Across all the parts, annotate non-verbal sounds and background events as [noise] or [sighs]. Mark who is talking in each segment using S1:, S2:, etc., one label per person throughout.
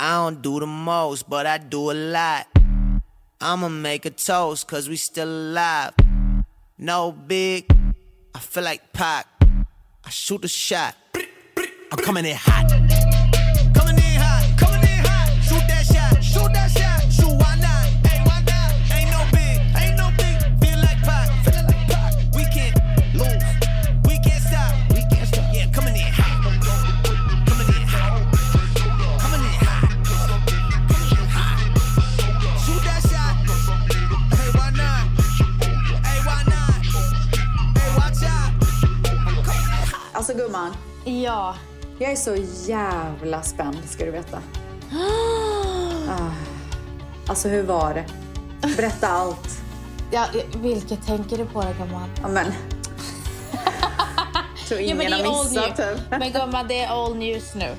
S1: I don't do the most, but I do a lot. I'ma make a toast, cause we still alive. No big, I feel like Pac. I shoot a shot. I'm coming in hot. Coming in hot, coming in hot. Shoot that shot, shoot that shot. Shoot, why not? Hey, why not? Ain't no big, ain't no big. Feel like Pac, feel like Pac. We can't lose, we can't stop. We can't stop. Yeah, coming in hot. Coming in hot. Coming in hot. Coming in hot. Shoot that shot. Hey, why not? Hey, why not? Hey, watch out. I'm coming in hot.
S2: Alltså gumman,
S3: Ja.
S2: jag är så jävla spänd ska du
S3: [gasps]
S2: veta. Ah. Alltså hur var det? Berätta allt.
S3: ja vilket tänker du på då gumman?
S2: Ja, men. Så
S3: Ja, men
S2: ingen
S3: det är
S2: har
S3: old
S2: missat
S3: news.
S2: typ.
S3: Men gumman, det är all news nu.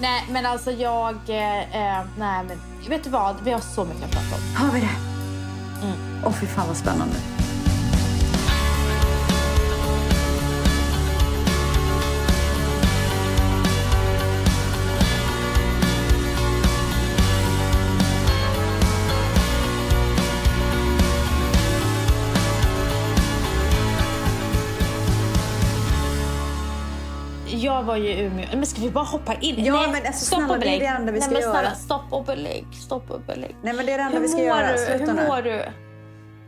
S3: Nej, men alltså jag... Eh, eh, nej, men vet du vad? Vi har så mycket att prata om.
S2: Har vi det?
S3: Mm.
S2: Åh fy fan vad spännande.
S3: Jag var ju i Umeå. Men ska vi bara hoppa in?
S2: Ja, men alltså, snälla, det är det enda vi ska
S3: nej, men snälla,
S2: göra.
S3: stopp och belägg. Stopp och belägg.
S2: Nej men det är det enda
S3: Hur
S2: vi ska
S3: mår
S2: göra.
S3: du?
S2: Sluta
S3: Hur mår
S2: nu.
S3: du?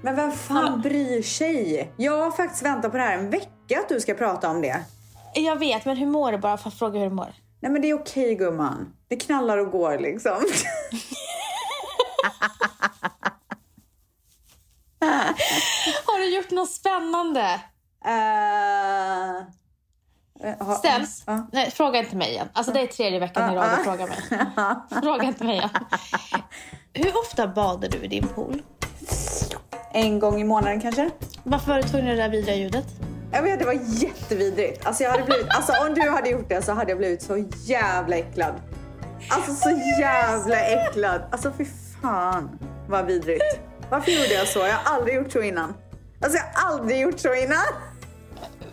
S2: Men vem fan bryr sig? Jag har faktiskt väntat på det här en vecka att du ska prata om det.
S3: Jag vet, men hur mår du? Bara för att fråga hur du mår.
S2: Nej men det är okej gumman. Det knallar och går liksom. [laughs]
S3: Har du gjort något spännande?
S2: Eh, eh, ha-
S3: Ställs?
S2: Ja.
S3: Nej, fråga inte mig igen. Alltså det är tredje veckan i rad
S2: ah.
S3: du frågar
S2: [laughs]
S3: mig. Fråga inte mig igen. Hur ofta badar du i din pool?
S2: En gång i månaden kanske?
S3: Varför var du tvungen att göra det där vidriga ljudet?
S2: Jag vet, det var jättevidrigt. Alltså, jag hade blivit, alltså om du hade gjort det så hade jag blivit så jävla äcklad. Alltså så jävla äcklad. Alltså fy fan vad vidrigt. Varför gjorde jag så? Jag har aldrig gjort så innan. Alltså jag har aldrig gjort så innan.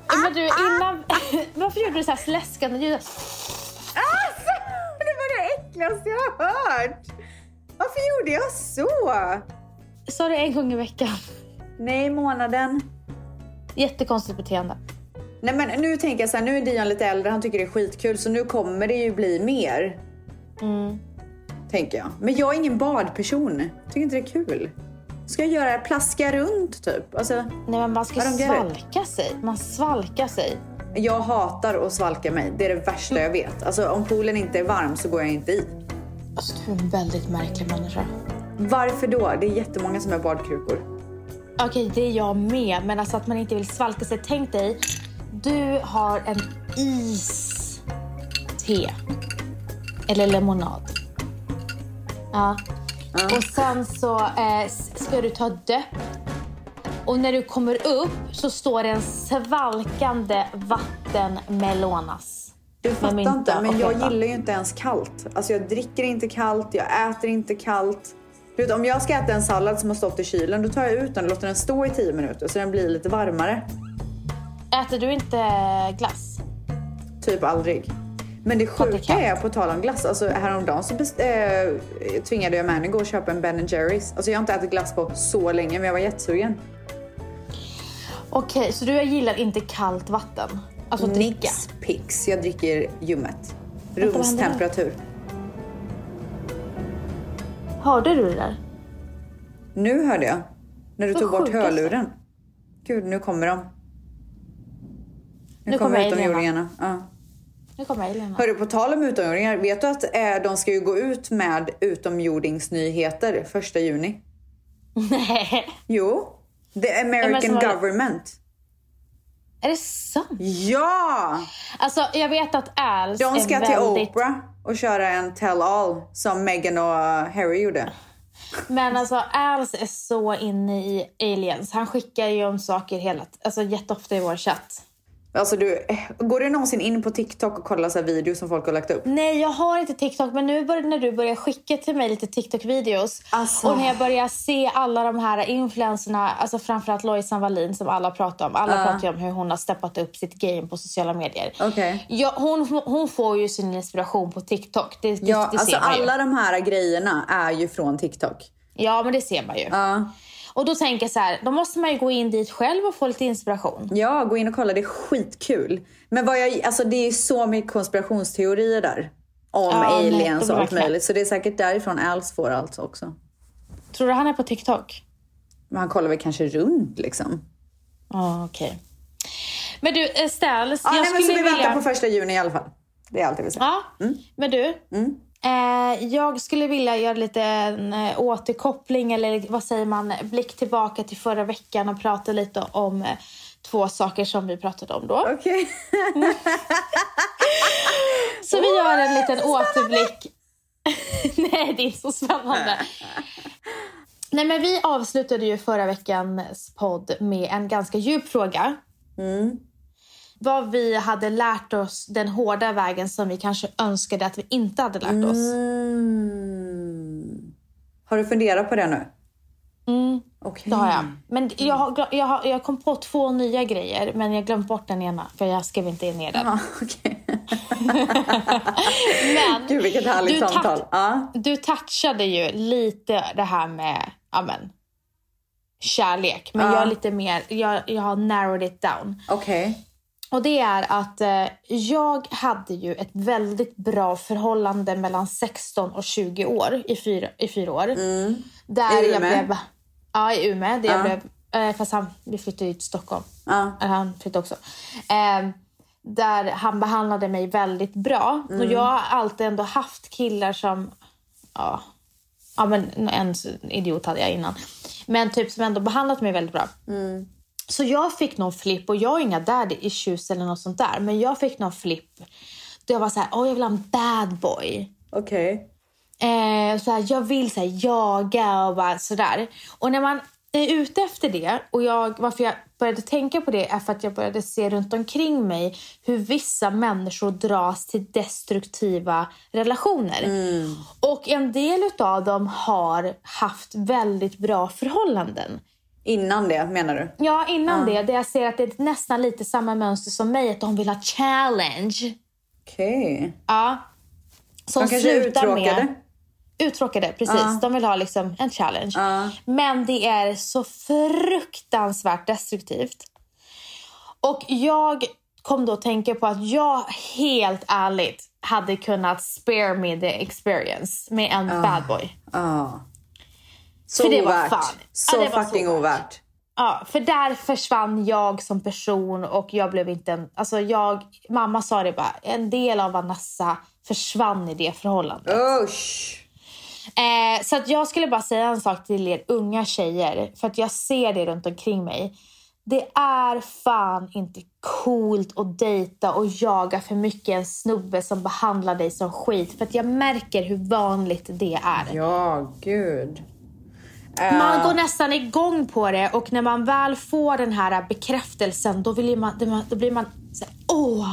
S3: Men
S2: Ah,
S3: du, innan... [laughs] Varför gjorde du så här släskande ljud?
S2: Alltså, det var det äckligaste jag har hört. Varför gjorde jag så?
S3: Sa du en gång i veckan?
S2: Nej, månaden.
S3: Jättekonstigt beteende.
S2: Nej men nu tänker jag så här, nu är Dion lite äldre, han tycker det är skitkul så nu kommer det ju bli mer.
S3: Mm.
S2: Tänker jag. Men jag är ingen badperson. Tycker inte det är kul. Ska jag göra plaska runt typ? Alltså,
S3: Nej men man ska
S2: Ja, de gör det.
S3: svalka sig. Man svalkar sig.
S2: jag hatar att svalka mig. Det är det värsta jag vet. Alltså om poolen inte är varm så går jag inte i.
S3: Alltså du är en väldigt märklig människa.
S2: Varför då? Det är jättemånga som är badkrukor.
S3: Okej, det är jag med. Men alltså att man inte vill svalka sig. Tänk dig, du har en iste. Eller lemonad. Ja. Och sen så eh, s- ska du ta döpp. Och när du kommer upp så står det en svalkande vattenmelonas.
S2: Du fattar
S3: mynta
S2: inte, men
S3: och
S2: jag
S3: peppa.
S2: gillar ju inte ens kallt. Alltså jag dricker inte kallt, jag äter inte kallt. Du vet, om jag ska äta en sallad som har stått i kylen, då tar jag ut den och låter den stå i 10 minuter så den blir lite varmare.
S3: Äter du inte glass?
S2: Typ aldrig. Men det
S3: Fattig
S2: sjuka
S3: katt.
S2: är, på tal om glass, alltså häromdagen så best, eh, tvingade jag Mani gå och köpa en Ben Jerrys. Alltså jag har inte ätit glass på så länge, men jag var jättesugen.
S3: Okej, så du gillar inte kallt vatten? Alltså dricka?
S2: Nix Pix, jag dricker ljummet.
S3: Vänta, vad händer
S2: Rumstemperatur.
S3: Hörde du det där?
S2: Nu hörde jag, när du
S3: Vad
S2: tog bort
S3: sjukaste.
S2: hörluren. Gud, nu kommer de. Nu,
S3: Nu
S2: kommer
S3: kommer
S2: utomjordingarna. Ja.
S3: Nu kommer Elin. [laughs]
S2: Hörru, på tal om utomjordingar, vet du att eh, de ska ju gå ut med utomjordingsnyheter första juni?
S3: Nej.
S2: Jo, the
S3: men
S2: American
S3: som har-
S2: government.
S3: Är det sant?
S2: Ja!
S3: Alltså, jag vet att Als
S2: De ska
S3: är
S2: till
S3: väldigt...
S2: Oprah och köra en tell all som Meghan och eh, Harry gjorde.
S3: Men alltså, Als är så inne i aliens. Han skickar ju om saker hela, alltså, jätteofta i vår chatt.
S2: Alltså du, eh, går du någonsin in på TikTok och kollar så här videos som folk har lagt upp?
S3: Nej, jag har inte TikTok, men nu bör, när du börjar skicka till mig lite TikTok-videos
S2: Alltså.
S3: och när jag börjar se alla de här influencerna, alltså framförallt Lojsan Wallin som alla pratar om. Alla pratar ju om hur hon har steppat upp sitt game på sociala medier.
S2: Okej.
S3: Ja, hon, hon får ju sin inspiration på TikTok. Det, det,
S2: Ja,
S3: det
S2: alltså
S3: ser man ju.
S2: alla de här grejerna är ju från TikTok.
S3: Ja, men det ser man ju.
S2: Ja.
S3: Och då tänker jag så här, då måste man ju gå in dit själv och få lite inspiration.
S2: Ja, gå in och kolla. Det är skitkul. Men vad jag, alltså det är så mycket konspirationsteorier där. Om
S3: Ja, nej,
S2: aliens
S3: det
S2: och
S3: blir
S2: allt
S3: verkligen-
S2: möjligt. Så det är säkert därifrån Als får allt också.
S3: Tror du han är på TikTok?
S2: Men han kollar väl kanske runt liksom.
S3: Ja, okej. Men du, Estelle,
S2: Ja,
S3: jag
S2: nej, men så vi
S3: skulle vilja...
S2: väntar på Mm. första juni i alla fall. Det är allt jag vill säga.
S3: Ja, men du.
S2: Mm.
S3: Eh, jag skulle vilja göra lite en eh, återkoppling eller vad säger man, blick tillbaka till förra veckan och prata lite om eh, två saker som vi pratade om då.
S2: Okej. [laughs]
S3: Så vi gör en liten återblick. [laughs] Nej, det är så spännande. Nej, men vi avslutade ju förra veckans podd med en ganska djup fråga. Mm. Vad vi hade lärt oss den hårda vägen som vi kanske önskade att vi inte hade lärt oss.
S2: Mm. Har du funderat på det nu?
S3: Mm,
S2: Okej.
S3: det har jag. Men jag, har, glö- jag, har, jag kom på två nya grejer, men jag glömde bort den ena. För jag skrev inte ner den.
S2: Ja, okej.
S3: [laughs] Men
S2: Gud, vilket härligt
S3: Du tack-
S2: samtal. Ja.
S3: Du touchade ju lite det här med amen, kärlek. Men
S2: Ja.
S3: jag är lite mer, jag, jag har narrowed it down.
S2: Okej.
S3: Och det är att eh, jag hade ju ett väldigt bra förhållande mellan 16 och 20 år i fyra, i fyra år. Där
S2: Mm. I
S3: jag
S2: Umeå?
S3: blev, Ja, i Umeå. Där
S2: Ja.
S3: jag blev, eh, fast han, vi flyttade ju till Stockholm.
S2: Ja.
S3: Eller han flyttade också. Ehm, där han behandlade mig väldigt bra.
S2: Mm.
S3: Och jag har alltid ändå haft killar som... Ja, ja men en idiot hade jag innan. Men typ som ändå behandlat mig väldigt bra. Så jag fick någon flipp och jag är inga daddy issues eller något sånt där. Men jag fick någon flipp. Då jag var så här, åh jag vill ha en bad boy.
S2: Okej.
S3: Eh, så här, jag vill så här, jaga och bara sådär. Och när man är ute efter det, och jag, varför jag började tänka på det är för att jag började se runt omkring mig hur vissa människor dras till destruktiva relationer. Och en del av dem har haft väldigt bra förhållanden.
S2: Innan det menar du?
S3: Ja, innan det, där jag ser att det är nästan lite samma mönster som mig, att de vill ha challenge.
S2: Okej.
S3: Ja. Som
S2: De kanske är
S3: slutar
S2: uttråkade?
S3: Med, uttråkade, precis. De vill ha liksom en challenge.
S2: Ja.
S3: Men det är så fruktansvärt destruktivt. Och jag kom då att tänka på att jag helt ärligt hade kunnat spare me the experience med en bad boy.
S2: Ja. Så
S3: För det var
S2: ovärt.
S3: fan-
S2: Så
S3: ja, det var så
S2: fucking
S3: ovärt.
S2: ovärt.
S3: Ja, för där försvann jag som person och jag blev inte en... Alltså jag, mamma sa det bara, en del av Vanessa försvann i det förhållandet.
S2: Usch!
S3: Eh, så att jag skulle bara säga en sak till er unga tjejer, för att jag ser det runt omkring mig. Det är fan inte coolt att dejta och jaga för mycket en snubbe som behandlar dig som skit. För att jag märker hur vanligt det är.
S2: Ja, gud. Äh, Eh.
S3: Man går nästan igång på det och när man väl får den här bekräftelsen då, vill ju man, då man- då blir man så här, åh!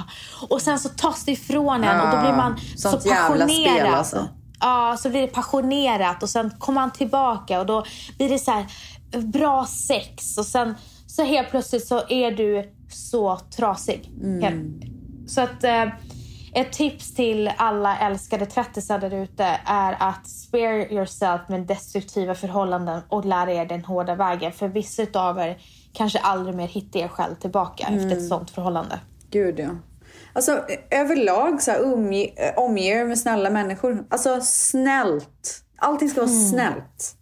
S3: Och sen så tas det ifrån en och då blir man
S2: Ja,
S3: så
S2: Ah, sånt jävla
S3: passionerad.
S2: spel, alltså.
S3: Ja, så blir det passionerat och sen kommer man tillbaka och då blir det så här eh, bra sex och sen så helt plötsligt så är du så trasig.
S2: Mm.
S3: Helt- Så att eh, ett tips till alla älskade tvättisar där ute är att spare yourself med destruktiva förhållanden och lära er den hårda vägen. För vissa utav er kanske aldrig mer hittar er själv tillbaka efter
S2: Mm.
S3: ett sånt förhållande.
S2: Gud, ja. Alltså, ö- överlag så här, umge- ö, omge er med snälla människor. Alltså, snällt. Allting ska vara snällt.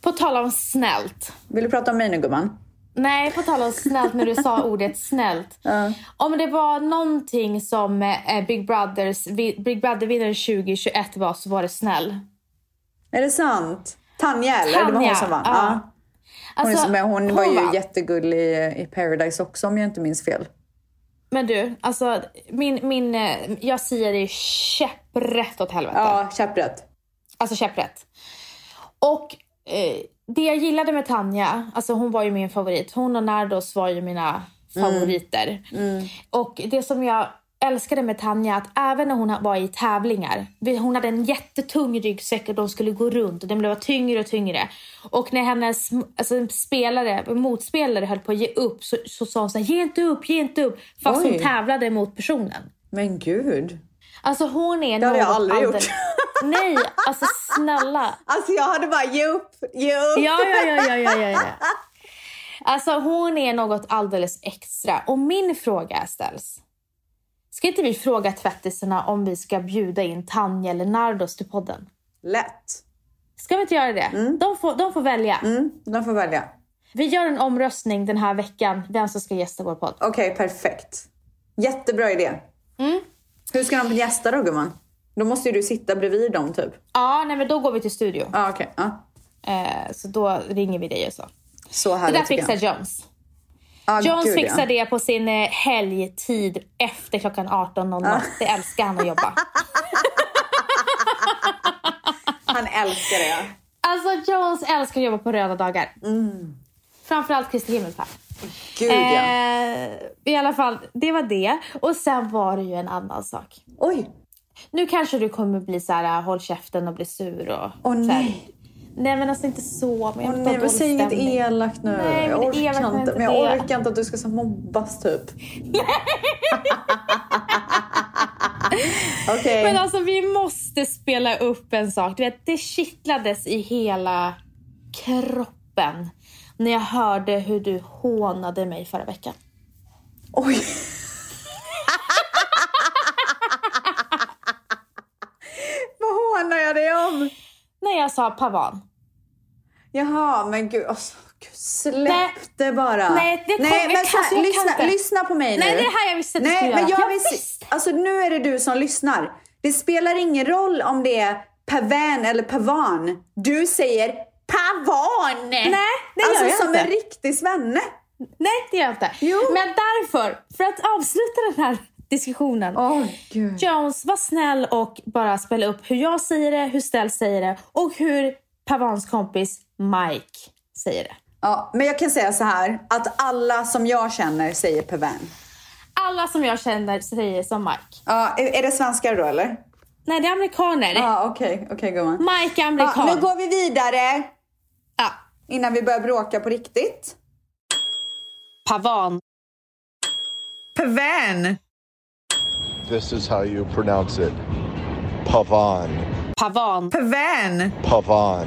S3: På tal om snällt.
S2: Vill du prata om mig nu, gumman?
S3: Nej, på tal om snällt när du
S2: [laughs]
S3: sa ordet snällt. Om det var någonting som eh, Big, Brothers, vi- Big Brother-vinnaren 2021 var så var det snäll.
S2: Är det sant? Tanja, eller? Det var hon
S3: Tanja,
S2: som vann.
S3: ja.
S2: Ja. Hon, är
S3: Alltså,
S2: så- men hon var ju
S3: vann.
S2: jättegullig i- i Paradise också, om jag inte minns fel.
S3: Men du, alltså min, min, eh, jag säger det är käpprätt åt helvete.
S2: Ja, käpprätt.
S3: Alltså käpprätt. Och eh, det jag gillade med Tanja, alltså hon var ju min favorit. Hon och Nardos var ju mina
S2: Mm.
S3: favoriter. Och det som jag älskade med Tanja att även när hon var i tävlingar, vi- hon hade en jättetung ryggsäck och de skulle gå runt och den blev tyngre och tyngre. Och när hennes alltså, spelare, motspelare höll på att ge upp så, så sa hon så här, ge inte upp, ge inte upp. Fast
S2: Oj.
S3: hon tävlade mot personen.
S2: Men gud.
S3: Alltså hon är
S2: Det hade jag
S3: något
S2: aldrig gjort.
S3: alldeles- Nej, alltså snälla.
S2: Alltså jag hade bara ge upp, ge upp.
S3: Ja, ja, ja, ja, ja, ja, ja. Alltså hon är något alldeles extra. Och min fråga ställs. Ska inte vi fråga tvättisarna om vi ska bjuda in Tanja eller Nardos till podden?
S2: Lätt.
S3: Ska vi inte göra det? De, får, de får välja.
S2: Mm, de får välja.
S3: Vi gör en omröstning den här veckan, vem som ska gästa vår podd.
S2: Okej, perfekt. Jättebra idé.
S3: Mm.
S2: Hur ska de gästa då gumman? Då måste ju du sitta bredvid dem typ.
S3: Ja, nej men då går vi till studio.
S2: Ja, okej. Ja.
S3: Eh, så då ringer vi dig och så.
S2: Så
S3: Det där
S2: härligt
S3: fixar Jones.
S2: ah,
S3: Jones fixar det på sin eh, helgtid efter klockan 18.00. Det älskar han att jobba.
S2: Han älskar det.
S3: Alltså Jones älskar att jobba på röda dagar. Framförallt Kristi himmelsfärd.
S2: Mm. Gud ja.
S3: Eh, I alla fall, det var det. Och sen var det ju en annan sak.
S2: Oj.
S3: Nu kanske du kommer bli så här, håll käften och bli sur och
S2: Åh
S3: så här.
S2: nej.
S3: Nej men alltså inte så, men jag
S2: Åh, nej,
S3: vill inte ha
S2: men
S3: dålig
S2: säg inget
S3: stämning.
S2: elakt nu.
S3: Nej, men
S2: jag
S3: det är
S2: orkar
S3: elakt, men
S2: inte.
S3: inte
S2: Men jag
S3: det.
S2: orkar inte att du ska så mobbas
S3: [laughs]
S2: typ. Okej.
S3: Men alltså vi måste spela upp en sak. Du vet, det kittlades i hela kroppen när jag hörde hur du hånade mig förra veckan. [laughs]
S2: Oj. Vad hånar jag dig om?
S3: När jag sa pavan.
S2: Jaha, men gud. Alltså, gud släpp
S3: Nej.
S2: det bara.
S3: Nej, det
S2: Nej,
S3: kommer-
S2: men
S3: jag kan-
S2: så-
S3: jag kan
S2: lyssna,
S3: inte.
S2: lyssna på mig nu.
S3: Nej, det är det här jag visste att du
S2: Nej,
S3: skulle
S2: men jag,
S3: göra. Jag
S2: visste.
S3: visste.
S2: Alltså, nu är det du som lyssnar. Det spelar ingen roll om det är pavan eller pavan. Du säger pavan!
S3: Nej, det gör
S2: alltså,
S3: jag
S2: som
S3: inte.
S2: en riktig svenne.
S3: Nej, det gör jag inte.
S2: Jo.
S3: Men därför, för att avsluta den här diskussionen.
S2: Åh, gud.
S3: Jones, var snäll och bara spela upp hur jag säger det, hur Stell säger det och hur Pavans kompis Mike säger det.
S2: Ja, men jag kan säga så här, att alla som jag känner säger pavan.
S3: Alla som jag känner säger som Mike.
S2: Ja, är, är det svenskar då eller?
S3: Nej, det är amerikaner.
S2: Ja, okej, okej gumman.
S3: Mike är
S2: Ja,
S3: amerikan.
S2: nu går vi vidare
S3: Ja.
S2: innan vi börjar bråka på riktigt.
S3: Pavan.
S2: Pavan!
S4: This is how you pronounce it. Pavan.
S3: Pavan.
S2: Pavan!
S4: Pavan.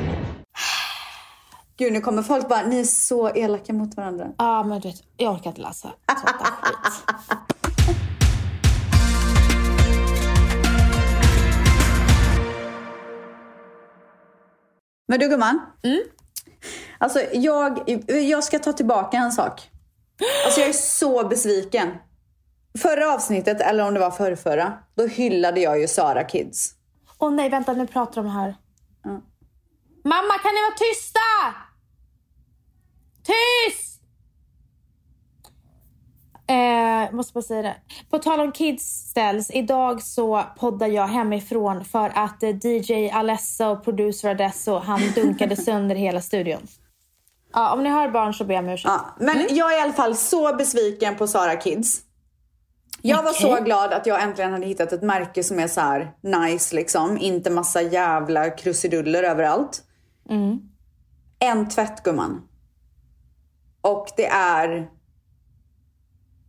S2: Gud, nu kommer folk bara, ni är så elaka mot varandra.
S3: Ja, men du vet, jag orkar inte läsa.
S2: [laughs]
S3: sånt där skit.
S2: Men du gumman. Alltså jag, jag ska ta tillbaka en sak. Alltså jag är så besviken. Förra avsnittet, eller om det var förrförra, då hyllade jag ju Sara Kids.
S3: Åh nej, vänta, nu pratar de här. Mamma, kan ni vara tysta? Tyst! Eh, måste bara säga det. På tal om kids ställs, idag så poddar jag hemifrån för att eh, DJ Alessa och producer Adesso, han dunkade [laughs] sönder hela studion. Ja, om ni har barn så ber jag om ursäkt.
S2: Ja, men jag är i alla fall så besviken på Sara Kids. Jag var
S3: Okej.
S2: så glad att jag äntligen hade hittat ett märke som är så här nice liksom. Inte massa jävla krusiduller överallt. En tvätt gumman. Och det är...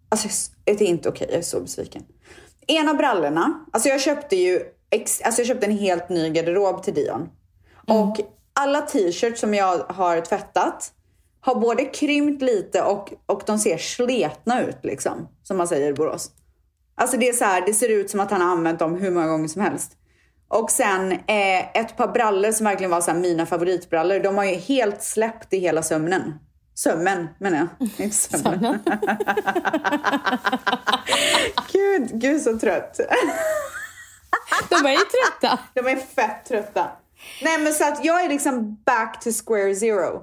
S2: Alltså jag s- det är inte okej, jag är så besviken. Ena brallorna, alltså jag köpte ju ex, alltså jag köpte en helt ny garderob till Dion. Och alla t-shirts som jag har tvättat har både krympt lite och, och de ser sletna ut liksom. Som man säger i Borås. Alltså det är så här, det ser ut som att han har använt dem hur många gånger som helst. Och sen eh, ett par brallor som verkligen var så här mina favoritbrallor. De har ju helt släppt i hela sömnen. Sömmen menar jag, inte sömnen. [laughs] gud, gud så trött.
S3: De är ju trötta.
S2: De är fett trötta. Nej men så att jag är liksom back to square zero.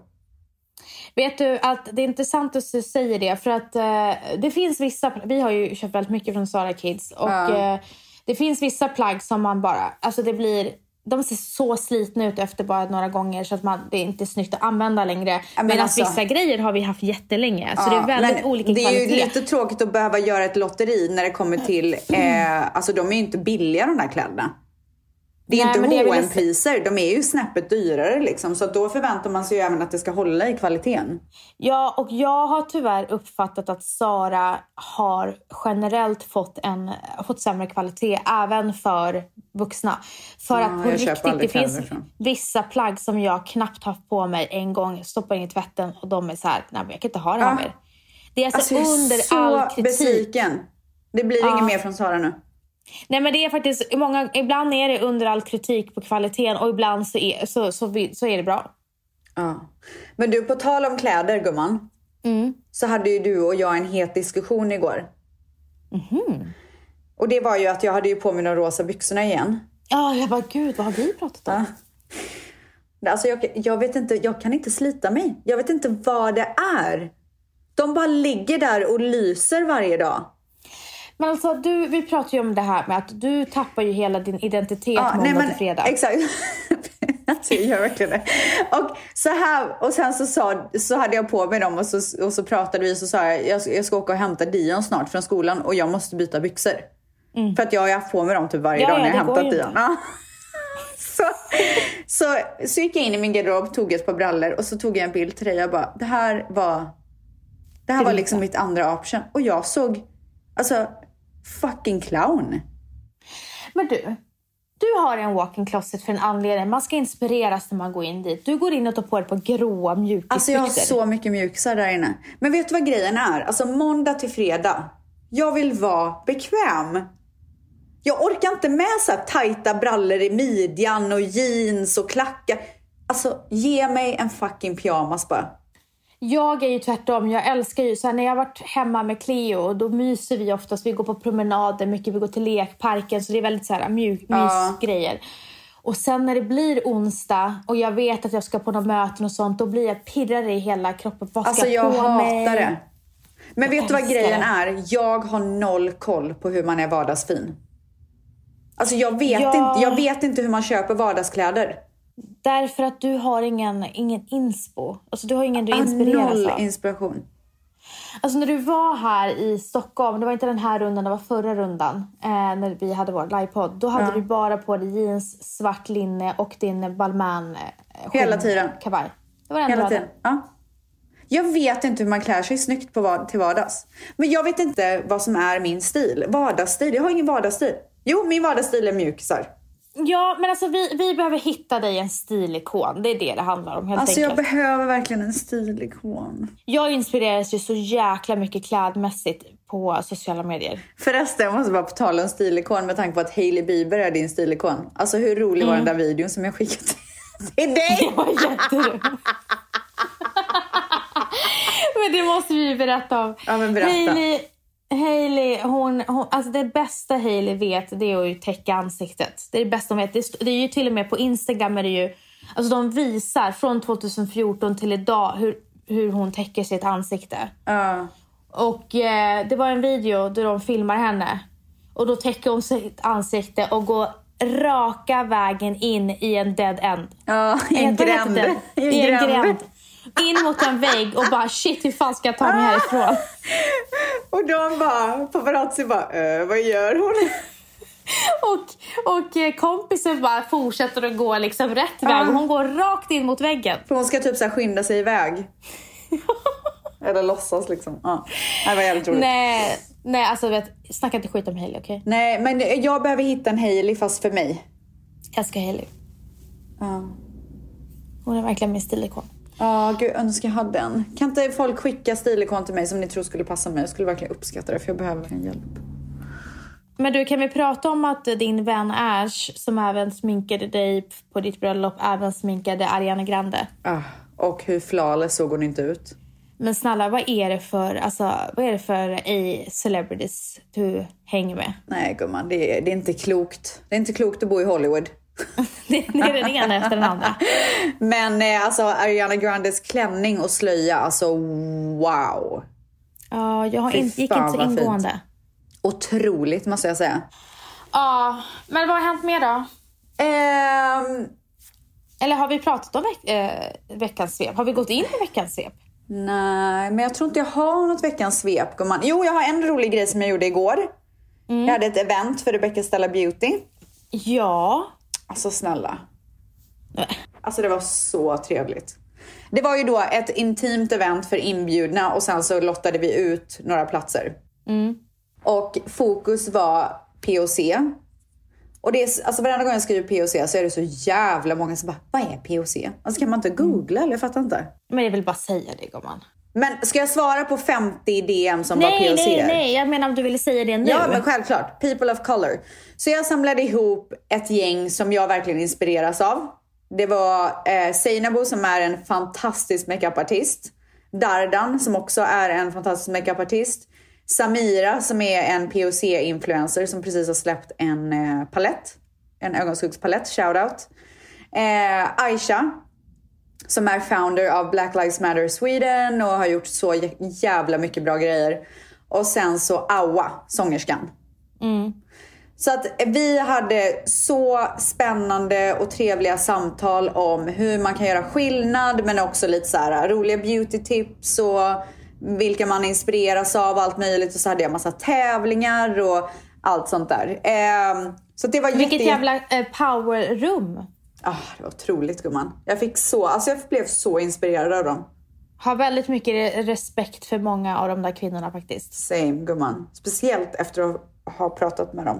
S3: Vet du att det är intressant att du säger det för att eh, det finns vissa, vi har ju köpt väldigt mycket från Sara Kids och eh, det finns vissa plagg som man bara, alltså det blir de ser så slitna ut efter bara några gånger så att man, det är inte snyggt att använda längre.
S2: men
S3: Medan
S2: alltså-
S3: vissa grejer har vi haft jättelänge. Så det är väldigt
S2: men
S3: olika
S2: Det är ju
S3: kvalitet.
S2: lite tråkigt att behöva göra ett lotteri när det kommer till... Eh, alltså de är ju inte billiga de där kläderna. Det är
S3: Nej, men det
S2: inte
S3: jag ville
S2: hm priser de är ju snäppet dyrare liksom. Så att då förväntar man sig ju även att det ska hålla i kvaliteten.
S3: Ja, och jag har tyvärr uppfattat att Sara har generellt fått, en, fått sämre kvalitet även för vuxna. För att på
S2: jag köper
S3: riktigt, det
S2: aldrig
S3: finns
S2: kläder från.
S3: vissa plagg som jag knappt haft på mig en gång, stoppar in i tvätten och de är så här, nej men jag kan inte ha det här
S2: Ja.
S3: mer. Det är Ah. alltså,
S2: jag är
S3: under
S2: så
S3: all kritik.
S2: besviken. Det blir inget mer från Sara nu.
S3: Nej men det är faktiskt, många, ibland är det under all kritik på kvaliteten och ibland så är, så, så, vi- så är det bra.
S2: Ja. Men du, på tal om kläder gumman.
S3: Mm.
S2: Så hade ju du och jag en het diskussion igår.
S3: Mhm.
S2: Och det var ju att jag hade ju på mig de rosa byxorna igen.
S3: Ja, jag bara gud vad har vi pratat om?
S2: Alltså jag, jag, vet inte, jag kan inte slita mig. Jag vet inte vad det är. De bara ligger där och lyser varje dag.
S3: Men alltså du, vi pratar ju om det här med att du tappar ju hela din identitet
S2: Ja,
S3: måndag till fredag.
S2: Exakt. [laughs] alltså, jag gör verkligen det. Och, så här, och sen så, sa, så hade jag på mig dem och så, och så pratade vi och så sa jag, jag ska- jag ska åka och hämta Dion snart från skolan och jag måste byta byxor. För att jag har ju haft på mig dem typ varje
S3: Mm. Ja,
S2: dag
S3: ja,
S2: när jag
S3: det går
S2: hämtat
S3: ju
S2: Dion.
S3: inte.
S2: Ja. [laughs] så, så, så gick jag in i min garderob, tog ett par brallor och så tog jag en bild till dig. Jag bara, det här var, det här var liksom mitt andra option. Och jag såg, alltså, fucking clown.
S3: Men du, du har en walk-in closet för en anledning. Man ska inspireras när man går in dit. Du går in och tar på dig på gråa mjukisbyxor.
S2: Alltså jag har så mycket mjukisar där inne. Men vet du vad grejen är? Alltså måndag till fredag. Jag vill vara bekväm. Jag orkar inte med så här tajta brallor i midjan och jeans och klackar. Alltså ge mig en fucking pyjamas bara.
S3: Jag är ju tvärtom. Jag älskar ju... Så här, när jag har varit hemma med Cleo och då myser vi oftast. Vi går på promenader mycket, vi går till lekparken. Så det är väldigt så här, mjuk, mysgrejer. Och sen när det blir onsdag och jag vet att jag ska på några möten och sånt, då blir jag pirrare i hela kroppen. Vad ska
S2: Alltså jag
S3: jag på
S2: hatar
S3: mig?
S2: det. Men vet du vad
S3: älskar
S2: grejen
S3: det.
S2: är? Jag har noll koll på hur man är vardagsfin. Alltså jag vet,
S3: Ja.
S2: inte, jag vet inte hur man köper vardagskläder.
S3: Därför att du har ingen, ingen inspo. Alltså du har ingen du
S2: Jag har
S3: inspireras
S2: Ah, Noll
S3: av.
S2: inspiration.
S3: Alltså när du var här i Stockholm, det var inte den här rundan, det var förra rundan, eh, när vi hade vår livepodd. Då hade du bara på dig jeans, svart linne och din Balmain eh,
S2: Hela
S3: skinn-
S2: tiden.
S3: kavaj. Det var den
S2: Hela
S3: dagen.
S2: tiden. Ja. Jag vet inte hur man klär sig snyggt på var- till vardags. Men jag vet inte vad som är min stil. Vardagsstil. Jag har ingen vardagsstil. Jo, min vardagsstil är mjukisar.
S3: Ja, men alltså vi, vi behöver hitta dig en stilikon. Det är det det handlar om helt
S2: Alltså jag
S3: enkelt. Jag,
S2: behöver verkligen en stilikon.
S3: inspireras ju så jäkla mycket klädmässigt på sociala medier.
S2: Förresten, jag måste bara på tal om stilikon med tanke på att Hailey Bieber är din stilikon. Alltså hur rolig var den där videon som jag skickade till- [laughs] till dig?
S3: Det var jätteroligt. men det måste vi ju berätta om.
S2: Ja, men berätta.
S3: Hailey, Hailey, hon, hon, alltså det bästa Hailey vet det är att ju täcka ansiktet. Det är det bästa hon vet. Det, st- det är ju till och med på Instagram är det ju, alltså de visar från 2014 till idag hur, hur hon täcker sitt ansikte.
S2: Ja.
S3: Och eh, det var en video där de filmar henne. Och då täcker hon sitt ansikte och går raka vägen in i en dead end.
S2: Ja, i
S3: Eh,
S2: en
S3: vad heter
S2: gränd.
S3: det? I en gränd. In mot en vägg och bara shit hur fan ska jag ta mig härifrån?
S2: Och de bara, paparazzi bara, äh, vad gör hon?
S3: Och, och eh, kompisen bara fortsätter att gå liksom rätt väg och hon går rakt in mot [laughs] väggen.
S2: För hon ska typ så här skynda sig iväg. Eller låtsas liksom. Ja. Det var jävligt roligt. Nej.
S3: Nej, nej alltså vet, snacka inte skit om Hailey okej?
S2: men jag behöver hitta en Hailey fast för mig.
S3: Jag älskar Hailey.
S2: Ja,
S3: Hon är verkligen min stilikon.
S2: Ja, gud, önskar jag hade en. Kan inte folk skicka stilikon till mig som ni tror skulle passa mig? Jag skulle verkligen uppskatta det för jag behöver verkligen hjälp.
S3: Men du, kan vi prata om att din vän Ash, som även sminkade dig på ditt bröllop, även sminkade Ariana Grande?
S2: Ah, och hur flawless såg hon inte ut?
S3: Men snälla, vad är det för, alltså, vad är det för eh, celebrities du hänger med? [laughs]
S2: Nej gumman, det är, det är inte klokt. Det är inte klokt att bo i Hollywood.
S3: Det det är den ena efter den andra.
S2: Men eh, alltså Ariana Grandes klänning och slöja, alltså wow.
S3: Ja, jag har
S2: Fy
S3: inte, gick
S2: fan,
S3: inte så
S2: vad fint.
S3: ingående.
S2: Otroligt måste jag säga.
S3: Ja, men vad har hänt mer då?
S2: Eh,
S3: Eller har vi pratat om veck- eh, veckans svep? Har vi gått in på veckans svep?
S2: Nej, men jag tror inte jag har något veckans svep gumman. Jo, jag har en rolig grej som jag gjorde igår. Jag hade ett event för Rebecca Stella Beauty.
S3: Ja.
S2: Alltså snälla. Alltså det var så trevligt. Det var ju då ett intimt event för inbjudna och sen så lottade vi ut några platser. Och fokus var POC. Och det är, alltså varenda gång jag skriver POC så är det så jävla många som bara, vad är POC? Alltså kan man inte googla eller jag fattar inte.
S3: Men jag vill bara säga det gumman.
S2: Men ska jag svara på 50 DM som var
S3: Nej,
S2: POC?
S3: nej, nej. Jag menar om du ville säga det nu.
S2: Ja, men självklart. People of color. Så jag samlade ihop ett gäng som jag verkligen inspireras av. Det var eh, Seinabo som är en fantastisk makeupartist. Dardan som också är en fantastisk makeupartist. Samira som är en POC-influencer som precis har släppt en eh, palett. En ögonskuggspalett, shoutout. Eh, Aisha som är founder av Black Lives Matter Sweden och har gjort så jä- jävla mycket bra grejer. Och sen så Awa, sångerskan.
S3: Mm.
S2: Så att vi hade så spännande och trevliga samtal om hur man kan göra skillnad men också lite så här roliga beautytips och vilka man inspireras av och allt möjligt. Och så hade jag massa tävlingar och allt sånt där. Ehm, så det var
S3: Vilket
S2: jätte-
S3: jävla eh, powerroom.
S2: Ah, det var otroligt gumman. Jag fick så, alltså jag blev så inspirerad av dem.
S3: Har väldigt mycket re- respekt för många av de där kvinnorna faktiskt.
S2: Same gumman. Speciellt efter att ha pratat med dem.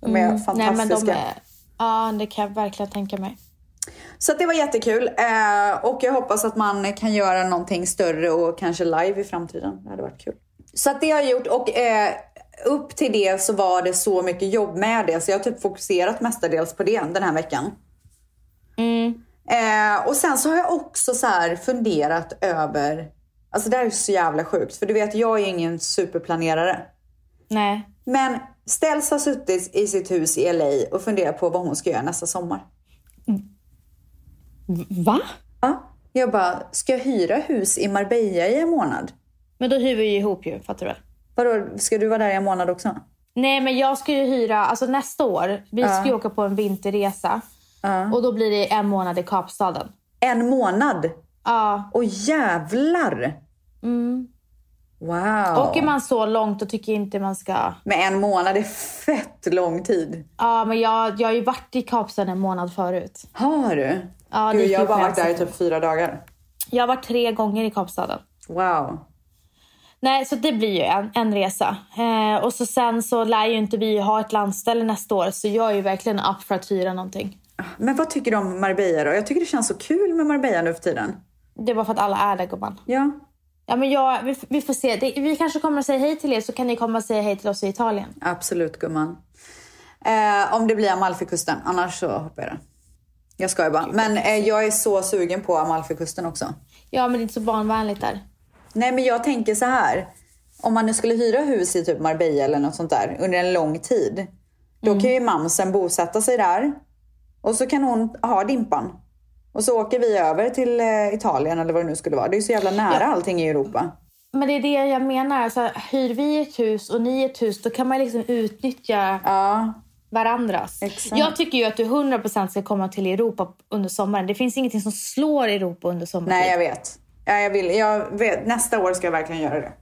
S2: De är
S3: Mm. Nej,
S2: fantastiska.
S3: men de är... Ja, det kan jag verkligen tänka mig.
S2: Så att det var jättekul. Eh, och jag hoppas att man kan göra någonting större och kanske live i framtiden. Det hade varit kul. Så att det har jag gjort. Och eh, upp till det så var det så mycket jobb med det. Så jag har typ fokuserat mestadels på det den här veckan.
S3: Mm.
S2: Eh, och sen så har jag också så här funderat över... Alltså det här är så jävla sjukt. För du vet, jag är ingen superplanerare.
S3: Nej.
S2: Men Ställs har suttit i sitt hus i LA och funderat på vad hon ska göra nästa sommar.
S3: Va?
S2: Ja. Jag bara, ska jag hyra hus i Marbella i en månad?
S3: Men då hyr vi ju ihop ju, fattar du väl?
S2: Vadå, ska du vara där i en månad också?
S3: Nej, men jag ska ju hyra, alltså nästa år, vi ska ju åka på en vinterresa. Och då blir det en månad i Kapstaden.
S2: En månad?
S3: Ja.
S2: Åh jävlar! Mm. Wow!
S3: Åker man så långt då tycker jag inte man ska...
S2: Men en månad är fett lång tid.
S3: Ja, men jag, jag har ju varit i Kapstaden en månad förut.
S2: Har du?
S3: Ja, det
S2: Gud,
S3: gick
S2: jag har
S3: ju
S2: bara
S3: för
S2: varit där i
S3: hälsan.
S2: typ fyra dagar.
S3: Jag har varit tre gånger i Kapstaden.
S2: Wow.
S3: Nej, så det blir ju en, en resa. Eh, och så sen så lär ju inte vi ha ett landställe nästa år så jag är ju verkligen upp för att hyra någonting.
S2: Men vad tycker du om Marbella då? Jag tycker det känns så kul med Marbella nu för tiden.
S3: Det var för att alla är där gumman.
S2: Ja.
S3: Ja, men jag, vi, vi får se. Det, vi kanske kommer att säga hej till er så kan ni komma och säga hej till oss i Italien.
S2: Absolut gumman. Eh, om det blir Amalfikusten, annars så hoppar jag det. Jag skojar bara. Men eh, jag är så sugen på Amalfikusten också.
S3: Ja, men det är inte så barnvänligt där.
S2: Nej men jag tänker så här. Om man nu skulle hyra hus i typ Marbella eller något sånt där under en lång tid. Då kan ju mamsen bosätta sig där. Och så kan hon ha Dimpan. Och så åker vi över till eh, Italien eller vad det nu skulle vara. Det är ju så jävla nära allting i Europa.
S3: Men det är det jag menar. Alltså, hyr vi ett hus och ni ett hus, då kan man liksom utnyttja
S2: Ja,
S3: varandras.
S2: Exakt.
S3: Jag tycker ju att du 100% ska komma till Europa under sommaren. Det finns ingenting som slår Europa under sommaren.
S2: nej jag vet. Ja, jag vill, jag vet. Nästa år ska jag verkligen göra det.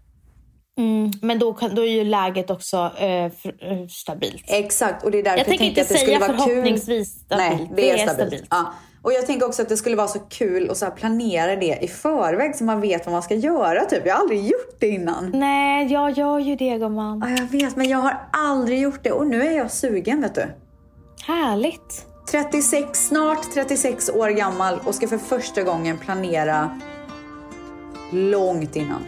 S3: Mm, men då, kan, då är ju läget också eh, fr- eh, stabilt.
S2: Exakt, och det är därför
S3: Jag
S2: jag,
S3: tänker
S2: tänkte
S3: inte
S2: att det skulle
S3: säga
S2: vara kul.
S3: förhoppningsvis stabilt.
S2: Nej, det, är stabilt. Ja. Och jag tänker också att det skulle vara så kul att så här planera det i förväg så man vet vad man ska göra. Typ. Jag har aldrig gjort det innan.
S3: Nej, jag gör ju det gumman.
S2: Ja, jag vet, men jag har aldrig gjort det och nu är jag sugen vet du.
S3: Härligt.
S2: 36, snart 36 år gammal och ska för första gången planera långt innan.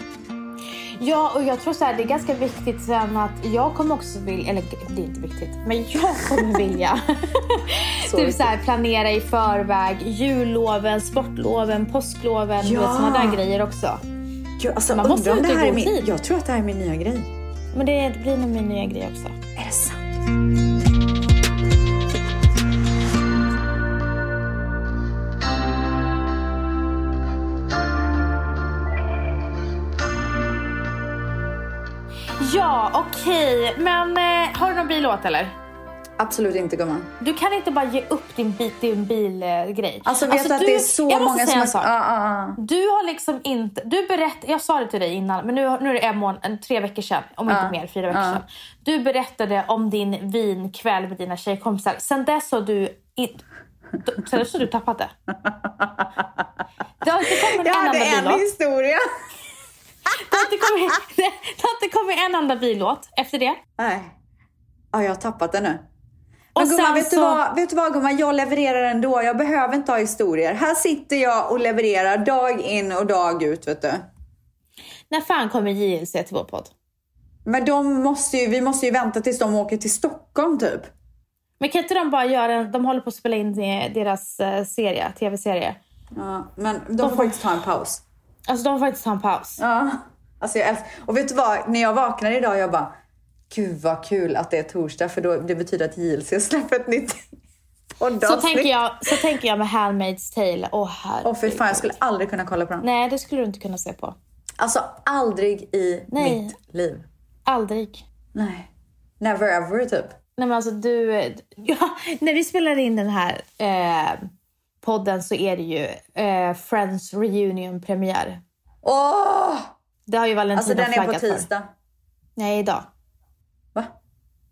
S3: Ja, och jag tror så här, det är ganska viktigt sen att jag kommer också vilja, eller det är inte viktigt, men jag
S2: [laughs]
S3: kommer vilja
S2: Så
S3: typ så här, planera i förväg julloven, sportloven, påskloven,
S2: Ja.
S3: ja. sådana där grejer också.
S2: Gud, alltså,
S3: Man måste
S2: undrar om
S3: ju
S2: det här är
S3: gå i
S2: min,
S3: tid.
S2: Jag tror att det här är min nya grej.
S3: Men det blir nog min nya grej också.
S2: Är det sant?
S3: Ja, okej. Men eh, har du någon bilåt eller?
S2: Absolut inte gumman.
S3: Du kan inte bara ge upp din, bit, din bilgrej.
S2: Alltså vet du att det är så
S3: jag måste
S2: många
S3: säga
S2: som...
S3: en sak.
S2: Ja, ja,
S3: Du har liksom inte... Du berätt, jag sa det till dig innan, men nu, nu är det en månad, en- tre veckor sedan. Om
S2: Ja.
S3: inte mer, fyra veckor
S2: Ja.
S3: sedan. Du berättade om din vinkväll med dina tjejkompisar. Sen dess har du... In, d- sen dess har du tappat det. Det har inte kommit
S2: ja.
S3: en
S2: Jag
S3: enda
S2: hade en
S3: bilåt.
S2: historia.
S3: Det har inte kommit, det, det har inte kommit en enda bilåt efter det.
S2: Nej. Ja, jag har tappat den nu.
S3: Och
S2: Men gumman,
S3: sen
S2: vet,
S3: så-
S2: du vad, vet du vad gumman? Jag levererar ändå. Jag behöver inte ha historier. Här sitter jag och levererar dag in och dag ut, vet du.
S3: När fan kommer JLC till vår podd?
S2: Men de måste ju, vi måste ju vänta tills de åker till Stockholm typ.
S3: Men kan inte de bara göra en... De håller på att spela in eh, deras eh, serie, tv-serie.
S2: Ja, men de får faktiskt ta en paus.
S3: Alltså de får faktiskt ta en paus.
S2: Ja. Alltså jag älsk- och vet du vad? När jag vaknade idag, jag bara Gud vad kul att det är torsdag för då, det betyder att JLC släpper ett nytt [laughs]
S3: Så
S2: poddavsnitt.
S3: tänker, jag, så tänker jag med Handmaid's Tale. Åh herregud.
S2: Åh fy fan, jag skulle aldrig kunna kolla på den.
S3: Nej, det skulle du inte kunna se på.
S2: Alltså aldrig i
S3: Nej.
S2: mitt liv.
S3: Aldrig.
S2: Nej. Never ever typ.
S3: Nej men alltså du... [laughs] Ja, när vi spelade in den här eh, podden så är det ju eh, Friends Reunion-premiär.
S2: Åh!
S3: Det har ju Valentina
S2: Alltså den är på
S3: flaggat för.
S2: tisdag.
S3: Nej, idag.
S2: Va?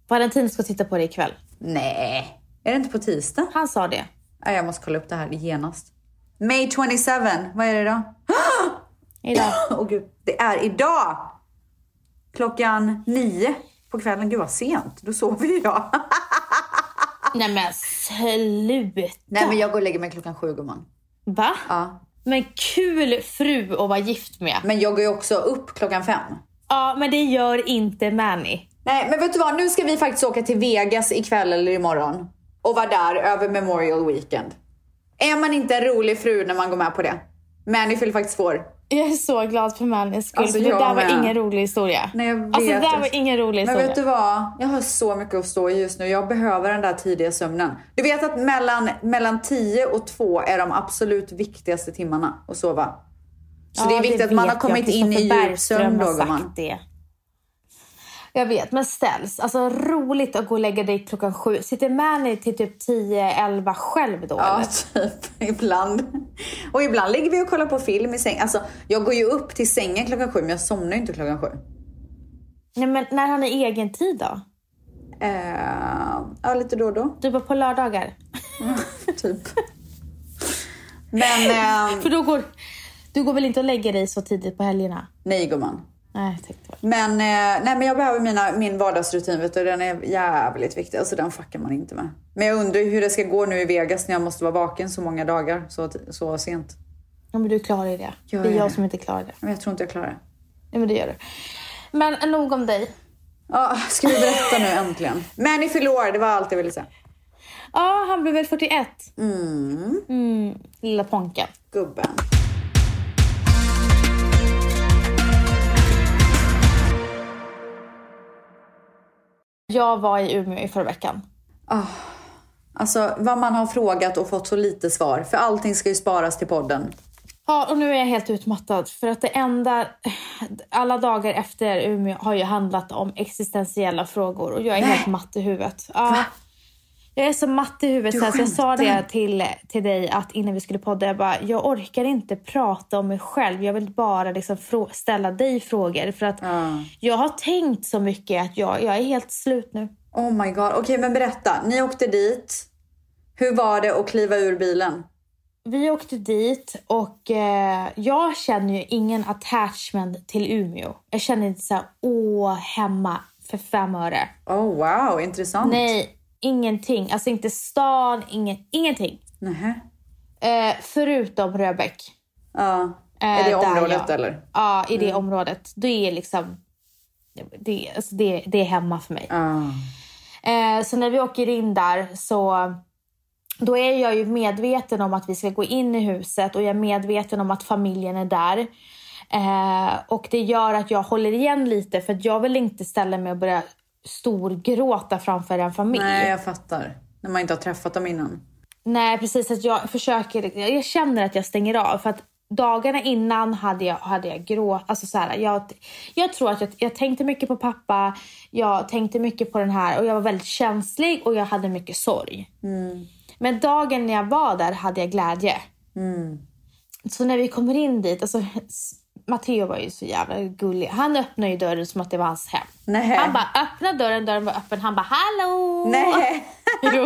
S3: Valentin ska titta på det ikväll.
S2: Nej. Är det inte på tisdag?
S3: Han sa det.
S2: Nej, jag måste kolla upp det här genast. May 27, vad är det då? [gasps]
S3: Idag.
S2: Åh oh, gud, det är idag! Klockan nio på kvällen. Gud vad sent, då sover ju jag.
S3: Nej men sluta!
S2: Nej men jag går och lägger mig klockan sju gumman.
S3: Va?
S2: Ja.
S3: Men kul fru att vara gift med.
S2: Men jag går ju också upp klockan fem.
S3: Ja, men det gör inte Manny.
S2: Nej men vet du vad, nu ska vi faktiskt åka till Vegas ikväll eller imorgon. Och vara där över Memorial Weekend. Är man inte en rolig fru när man går med på det? Människor fyller faktiskt svår.
S3: Jag är så glad för Mannys skull.
S2: Alltså,
S3: för det
S2: jag
S3: där var
S2: med.
S3: ingen rolig historia.
S2: Nej, jag vet
S3: alltså det där
S2: det.
S3: var ingen rolig
S2: Men
S3: historia.
S2: vet du vad? Jag har så mycket att stå i just nu. Jag behöver den där tidiga sömnen. Du vet att mellan, mellan 10 och 2 är de absolut viktigaste timmarna att sova. Så
S3: Ja,
S2: det är viktigt att man
S3: vet
S2: har kommit
S3: jag.
S2: in i
S3: Kristoffer
S2: djup sömn
S3: Bergström
S2: då,
S3: har sagt
S2: gumman.
S3: det. Jag vet, men ställs. Alltså roligt att gå och lägga dig klockan sju. Sitter Manny till typ 10, 11 själv då
S2: Ja,
S3: eller?
S2: typ. Ibland. Och ibland ligger vi och kollar på film i sängen. Alltså, jag går ju upp till sängen klockan sju, men jag somnar ju inte klockan sju.
S3: Nej, men när han är egen tid då?
S2: Eh, ja, lite då och då. [laughs]
S3: Du bara på lördagar? [laughs]
S2: Typ. Men, eh,
S3: För då går... Du går väl inte och lägger dig så tidigt på helgerna?
S2: nej gumman.
S3: Nej, jag tänkte väl.
S2: Men, eh, nej, men jag behöver mina, min vardagsrutin vet du, den är jävligt viktig. Alltså den fuckar man inte med. Men jag undrar ju hur det ska gå nu i Vegas när jag måste vara vaken så många dagar så, så sent.
S3: Ja, men du klarar ju det.
S2: Jag
S3: det är
S2: gör
S3: jag
S2: det.
S3: som inte klarar det.
S2: Men jag tror inte jag klarar det.
S3: Nej, men det gör du. Men nog om dig.
S2: Ja, ska vi berätta nu äntligen? Männy förlorar, det var allt jag ville säga.
S3: Ja, han blev väl 41? Mm. Lilla Ponken.
S2: Gubben.
S3: Jag var i Umeå i förra veckan.
S2: Alltså vad man har frågat och fått så lite svar. För allting ska ju sparas till podden.
S3: Ja, och nu är jag helt utmattad. För att det enda... [sighs] Alla dagar efter Umeå har ju handlat om existentiella frågor. Och jag är helt matt i huvudet. Ja. Jag är så matt i huvudet.
S2: Du
S3: så här, så jag sa
S2: skämtar.
S3: det till, till dig att innan vi skulle podda. Jag bara, jag orkar inte prata om mig själv. Jag vill bara liksom frå- ställa dig frågor. För att jag har tänkt så mycket att jag, jag är helt slut nu.
S2: Oh my god. Okej men berätta, ni åkte dit. Hur var det att kliva ur bilen?
S3: Vi åkte dit och eh, jag känner ju ingen attachment till Umeå. Jag känner inte så här, åh, hemma för fem öre.
S2: Oh wow, intressant.
S3: Nej, ingenting. Alltså inte stan, ingen, ingenting.
S2: Nähä.
S3: Eh, förutom Röbäck.
S2: Ja. är
S3: Eh,
S2: det
S3: där
S2: området
S3: jag-
S2: eller? Mm.
S3: Ja, i det området. Det är liksom... Det, alltså det, det är hemma för mig.
S2: Ja.
S3: Eh, så när vi åker in där så då är jag ju medveten om att vi ska gå in i huset och jag är medveten om att familjen är där. Eh, och det gör att jag håller igen lite för att jag vill inte ställa mig och börja storgråta framför en familj.
S2: Nej, jag fattar. När man inte har träffat dem innan.
S3: Nej, precis. Att jag försöker, jag känner att jag stänger av. För att dagarna innan hade jag, hade jag grå... Alltså så här, jag, jag tror att jag, jag tänkte mycket på pappa, jag tänkte mycket på den här och jag var väldigt känslig och jag hade mycket sorg.
S2: Mm.
S3: Men dagen när jag var där hade jag glädje.
S2: Mm.
S3: Så när vi kommer in dit, alltså s- Matteo var ju så jävla gullig. Han öppnade ju dörren som att det var hans hem.
S2: Nej.
S3: Han bara öppna dörren, dörren var öppen. Han bara hallå! [laughs]
S2: Nej.
S3: Jo.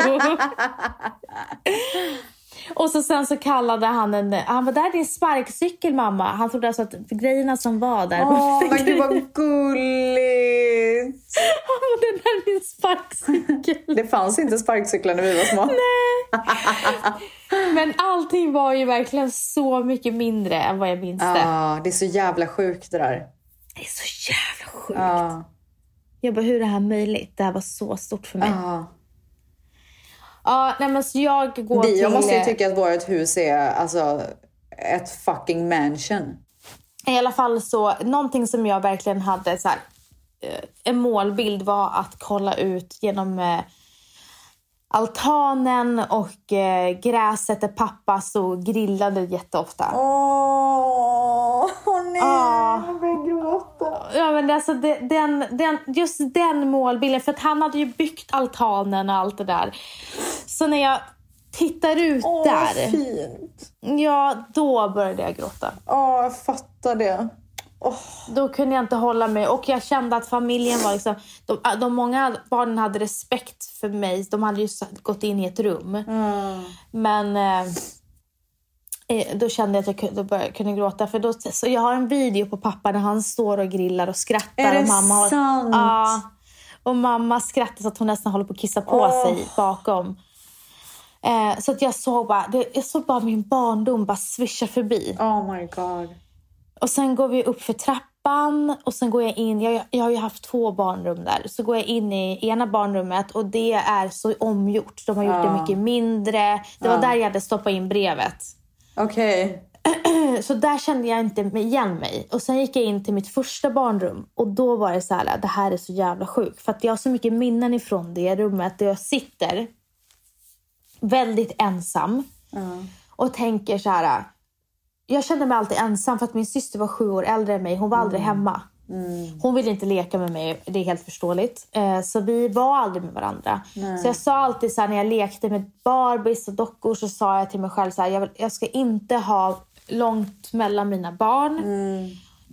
S3: Och så sen så kallade han en... Han var där är din sparkcykel mamma. Han trodde alltså att grejerna som var där...
S2: Åh, men gud vad gulligt.
S3: Han bara, det där är din
S2: [laughs]
S3: sparkcykel.
S2: Det fanns inte sparkcyklar när vi var små.
S3: Men allting var ju verkligen så mycket mindre än vad jag minns det.
S2: Ja, det är så jävla sjukt det där.
S3: Det är så jävla sjukt.
S2: Ja,
S3: Jag bara, hur är det här möjligt? Det här var så stort för mig. Ja,
S2: ja.
S3: nej men så jag går
S2: Vi, jag
S3: till...
S2: måste ju
S3: eh,
S2: tycka att vårt hus är alltså ett fucking mansion.
S3: I alla fall så, någonting som jag verkligen hade så här, eh, en målbild var att kolla ut genom eh, altanen och eh, gräset där pappa stod och grillade jätteofta.
S2: Åh, åh nej,
S3: Ah.
S2: jag börjar gråta.
S3: Ja, men alltså de- den, den, just den målbilden, för att han hade ju byggt altanen och allt det där. Så när jag tittar ut
S2: Åh, vad
S3: där,
S2: fint.
S3: ja, då började jag gråta.
S2: Åh, jag fattar det.
S3: Då kunde jag inte hålla mig och jag kände att familjen var liksom... De, de många barnen hade respekt för mig. De hade ju s- gått in i ett rum.
S2: Mm.
S3: Men eh, eh, då kände jag att jag kunde, då började, jag kunde gråta. För då, så jag har en video på pappa när han står och grillar och skrattar.
S2: Är det
S3: och mamma har,
S2: sant?
S3: Ja. Och mamma skrattar så att hon nästan håller på att kissa på
S2: Åh.
S3: sig bakom. Eh, så att jag såg bara, det, jag såg bara min barndom bara svischa förbi.
S2: Oh my god.
S3: Och sen går vi upp för trappan och sen går jag in. Jag, jag har ju haft två barnrum där. Så går jag in i ena barnrummet och det är så omgjort. De har gjort det mycket mindre. Det var där jag hade stoppat in brevet.
S2: Okej.
S3: Så där kände jag inte igen mig. Och sen gick jag in till mitt första barnrum och då var det så här, det här är så jävla sjukt. För att jag har så mycket minnen ifrån det rummet där jag sitter väldigt ensam och tänker så här. Jag kände mig alltid ensam för att min syster var sju år äldre än mig. Hon var aldrig hemma. Hon ville inte leka med mig, det är helt förståeligt. Eh, Så vi var aldrig med varandra. Så jag sa alltid så här, när jag lekte med Barbies och dockor så sa jag till mig själv så här, jag, vill, jag ska inte ha långt mellan mina barn.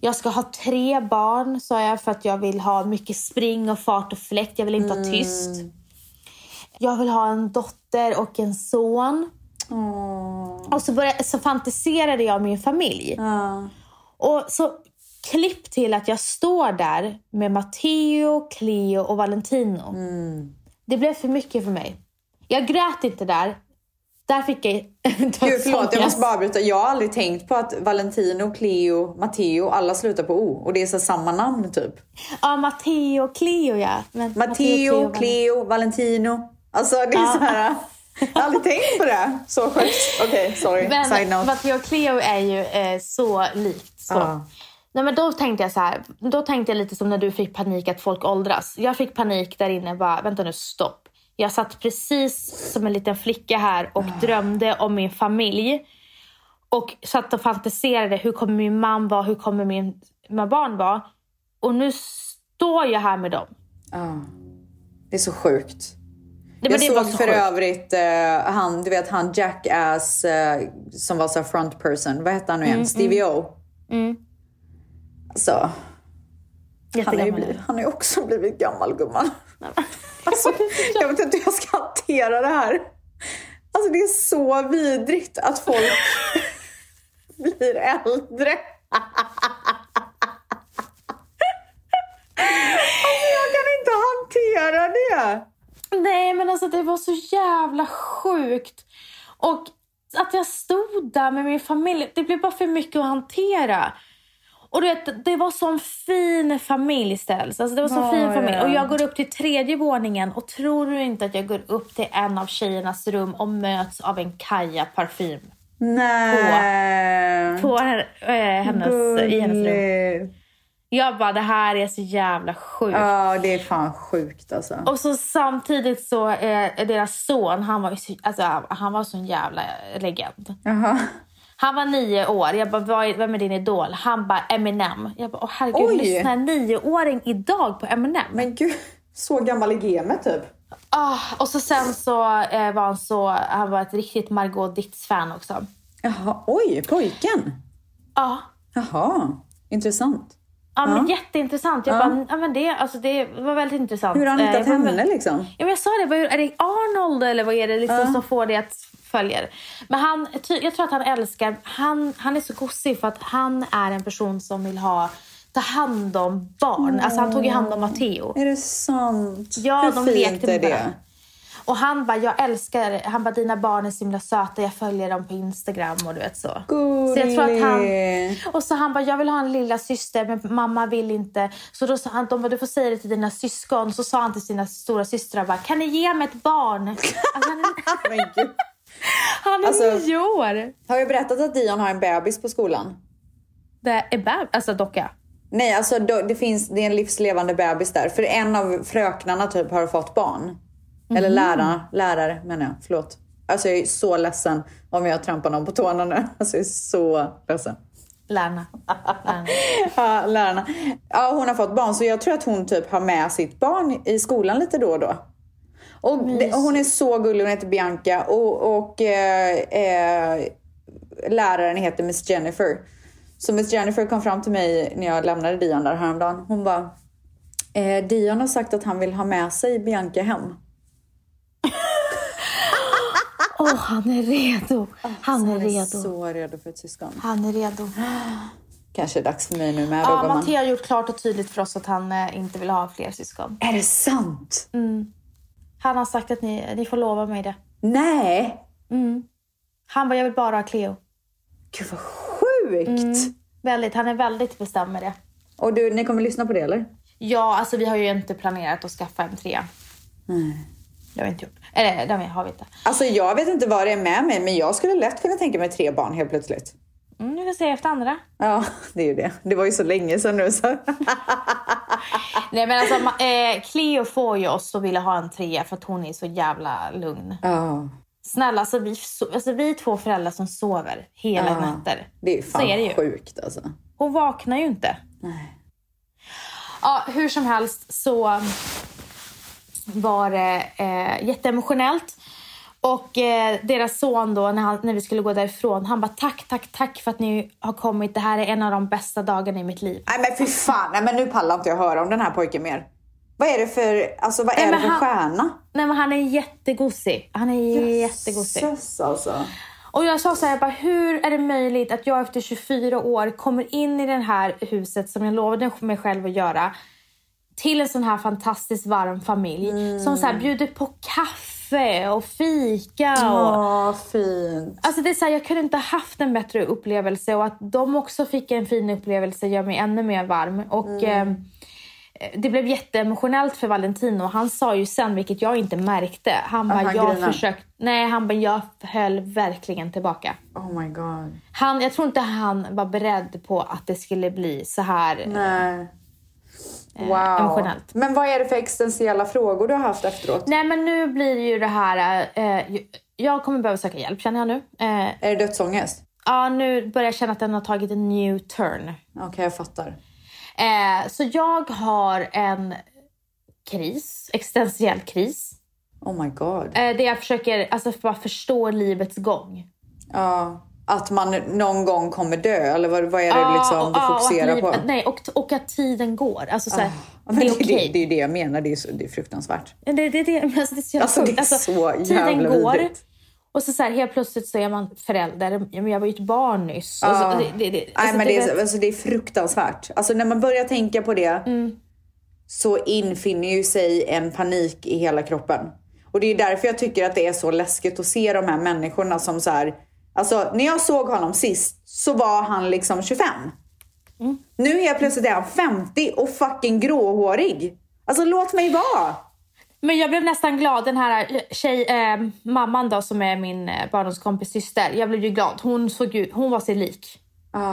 S3: Jag ska ha tre barn, sa jag, för att jag vill ha mycket spring och fart och fläkt. Jag vill inte ha tyst. Jag vill ha en dotter och en son. Och så, började, så fantiserade jag om min familj.
S2: Ja.
S3: Och så klipp till att jag står där med Matteo, Cleo och Valentino.
S2: Mm.
S3: Det blev för mycket för mig. Jag grät inte där. Där fick jag [laughs]
S2: Gud, förlåt, jag
S3: dödsångest.
S2: måste bara avbryta. Jag har aldrig tänkt på att Valentino, Cleo, Matteo, alla slutar på O. Och det är så samma namn typ.
S3: Ja, Matteo och Cleo ja. Men,
S2: Matteo,
S3: Matteo, Ah.
S2: Cleo, Valentino. Alltså det är så här. Jag har aldrig tänkt på det. Så sjukt. Okej, sorry. Side
S3: Men
S2: note.
S3: Matteo och Cleo är ju eh, så likt. Så.
S2: Ja.
S3: Nej, men då tänkte jag så här, då tänkte jag lite som när du fick panik att folk åldras. Jag fick panik där inne bara, vänta nu stopp. Jag satt precis som en liten flicka här och
S2: Ah.
S3: drömde om min familj. Och satt och fantiserade, hur kommer min man vara, hur kommer min, mina barn vara? Och nu står jag här med dem.
S2: Ja. Det är så sjukt.
S3: Nej, men
S2: Jag
S3: det var
S2: såg
S3: så
S2: för
S3: sjukt.
S2: övrigt eh, han, du vet han Jackass eh, som var så här front person. Vad hette han nu
S3: Mm,
S2: igen? Stevie O. Alltså, han har, ju
S3: Jättegammal.
S2: blivit, han har ju också blivit gammal gumman. [laughs] Alltså, jag vet inte hur jag ska hantera det här. Alltså det är så vidrigt att folk [laughs] blir äldre. [laughs] Alltså jag kan inte hantera det.
S3: Nej, men alltså det var så jävla sjukt. Och att jag stod där med min familj, det blev bara för mycket att hantera. Och du vet, det var sån fin familj ställs. Alltså det var sån
S2: Ja,
S3: fin familj.
S2: ja.
S3: Och jag går upp till tredje våningen och tror du inte att jag går upp till en av tjejernas rum och möts av en Kaja parfym
S2: Nej.
S3: på eh, hennes, i hennes rum.
S2: Gulligt.
S3: Jag bara, det här är så jävla sjukt.
S2: Ja, det är fan sjukt alltså.
S3: Och så samtidigt så, eh, deras son, han var ju så, alltså, han var så en jävla legend.
S2: Jaha.
S3: Han var nio år. Jag bara, "Vad är- vem är din idol? Han bara, Eminem. Jag bara, åh herregud,
S2: Oj.
S3: lyssnar en nioåring idag på Eminem?
S2: Men gud, så gammal är GM typ.
S3: Ah, och så sen så eh, var han så, han var ett riktigt Margot Ditz-fan också.
S2: Jaha, oj, pojken.
S3: Ja,
S2: Jaha, intressant.
S3: ja, men
S2: Ja.
S3: jätteintressant. Jag
S2: Ja.
S3: bara, ja, men det, alltså, det var väldigt intressant.
S2: Hur har han
S3: Eh,
S2: hittat
S3: jag bara,
S2: henne liksom?
S3: Ja, men jag sa det, vad är är det Arnold eller vad är det liksom som får det att följa det? Men han, ty, jag tror att han älskar, han, han är så gosig för att han är en person som vill ha, ta hand om barn. Alltså han tog ju hand om Matteo.
S2: Är det sant?
S3: Ja,
S2: Hur
S3: de
S2: fint
S3: lekte
S2: är
S3: med
S2: det?
S3: varandra. Och han bara, jag älskar, han bara dina barn är så himla söta, jag följer dem på Instagram och du vet så. Så jag tror att han,
S2: Gullig.
S3: och så han bara, jag vill ha en lilla syster men mamma vill inte. Så då sa han, de bara, du får säga det till dina syskon. Så sa han till sina stora systrar bara, kan ni ge mig ett barn? Alltså, han,
S2: [laughs]
S3: är,
S2: Men gud.
S3: han är
S2: Alltså-
S3: nio år!
S2: Har jag berättat att Dion har en bebis på skolan?
S3: Det är bab- alltså docka.
S2: Nej, alltså då, det, finns, det är en livslevande bebis där. För en av fröknarna typ har fått barn. Eller lärarna, lärare menar jag. Förlåt. Alltså jag är så ledsen om jag trampar någon på tårna nu. Alltså jag är så ledsen.
S3: Lärna. Lärna.
S2: Ja, lärarna. Ja, hon har fått barn så jag tror att hon typ har med sitt barn i skolan lite då och då. Och det, hon är så gullig, hon heter Bianca och, och eh, eh, läraren heter Miss Jennifer. Så Miss Jennifer kom fram till mig när jag lämnade Dion där häromdagen. Hon bara, eh, Dion har sagt att han vill ha med sig Bianca hem.
S3: Åh, han är redo. Han är redo.
S2: så redo för ett syskon.
S3: Han är redo.
S2: Kanske är det dags för mig nu med då
S3: Ja,
S2: gumman.
S3: Matteo har gjort klart och tydligt för oss att han eh, inte vill ha fler syskon.
S2: Är det sant?
S3: Han har sagt att ni, ni får lova mig det.
S2: Nej!
S3: Han bara, jag vill bara ha Cleo.
S2: Gud vad sjukt!
S3: Väldigt, han är väldigt bestämd med det.
S2: Och du, ni kommer lyssna på det eller?
S3: Ja, alltså vi har ju inte planerat att skaffa en trea. Det har vi inte gjort. Eller det har vi inte.
S2: Alltså jag vet inte vad det är med mig, men jag skulle lätt kunna tänka mig tre barn helt plötsligt.
S3: Mm, vi får se efter andra.
S2: Ja, det är ju det. Det var ju så länge sedan nu så.
S3: Nej men alltså ma- eh, Cleo får ju oss att vilja ha en trea för att hon är så jävla lugn.
S2: Ja,
S3: Snälla, alltså vi, so- alltså, vi är två föräldrar som sover hela
S2: Ja.
S3: nätter.
S2: det är ju fan
S3: Så är det ju.
S2: sjukt alltså.
S3: Hon vaknar ju inte. Ja, hur som helst så var det eh, jätteemotionellt. Och eh, deras son då, när, han, när vi skulle gå därifrån, han bara tack, tack, tack för att ni har kommit. Det här är en av de bästa dagarna i mitt liv.
S2: Nej men fy fan, nej men nu pallar inte jag höra om den här pojken mer. Vad är det för, alltså vad är
S3: Nej,
S2: det
S3: men
S2: för
S3: han-
S2: stjärna?
S3: Nej men han är jättegosig. Han är jättegosig.
S2: Jösses, alltså.
S3: Och jag sa så här, jag bara, hur är det möjligt att jag efter 24 år kommer in i det här huset som jag lovade mig själv att göra till en sån här fantastiskt varm familj som så här bjuder på kaffe och fika. Och,
S2: Åh, fint.
S3: Alltså det är så här, jag kunde inte ha haft en bättre upplevelse och att de också fick en fin upplevelse gör mig ännu mer varm. Och eh, Det blev jätteemotionellt för Valentino. Han sa ju sen, vilket jag inte märkte, han bara,
S2: han
S3: jag
S2: grinar."
S3: försökte, nej han bara, jag höll verkligen tillbaka.
S2: Oh my god.
S3: Han, jag tror inte han var beredd på att det skulle bli så här.
S2: Nej. Wow.
S3: Eh, emotionellt.
S2: Men vad är det för existentiella frågor du har haft efteråt?
S3: Nej men nu blir ju det här, eh, ju- jag kommer behöva söka hjälp känner jag nu. Eh,
S2: Är det dödsångest?
S3: ja, nu börjar jag känna att den har tagit en new turn.
S2: Okej, jag fattar.
S3: Eh, så jag har en kris, existentiell kris.
S2: Oh my god.
S3: Eh, där jag försöker alltså, bara förstå livets gång.
S2: Ja, att man någon gång kommer dö eller vad, vad är det liksom du
S3: och- och att
S2: fokuserar
S3: liv-
S2: på?
S3: att- Nej, och, och att tiden går. Alltså, så här,
S2: Ja, men
S3: det
S2: [laughs]
S3: är
S2: det,
S3: okej.
S2: det är ju det jag menar, det är, ju så, det är fruktansvärt.
S3: Det, det, det, [laughs] men alltså, det är så jävla
S2: Alltså, det är
S3: sjukt.
S2: så jävla
S3: Tiden går.
S2: vidrigt.
S3: Och så, så här, helt plötsligt så är man förälder. Ja, men Jag var ju ett barn nyss. Och
S2: Ja.
S3: så, det, det, det,
S2: Nej,
S3: alltså,
S2: men
S3: du
S2: det, är,
S3: vet-
S2: så- alltså, det är fruktansvärt. Alltså när man börjar tänka på det
S3: Mm.
S2: så infinner ju sig en panik i hela kroppen. Och det är därför jag tycker att det är så läskigt att se de här människorna som så här, alltså när jag såg honom sist så var han liksom 25.
S3: Mm.
S2: Nu helt plötsligt är han 50 och fucking gråhårig. Alltså låt mig vara.
S3: Men jag blev nästan glad. Den här tjej, eh, mamman då, som är min eh, barndomskompis syster. Jag blev ju glad. Hon, såg ut, hon var sig lik.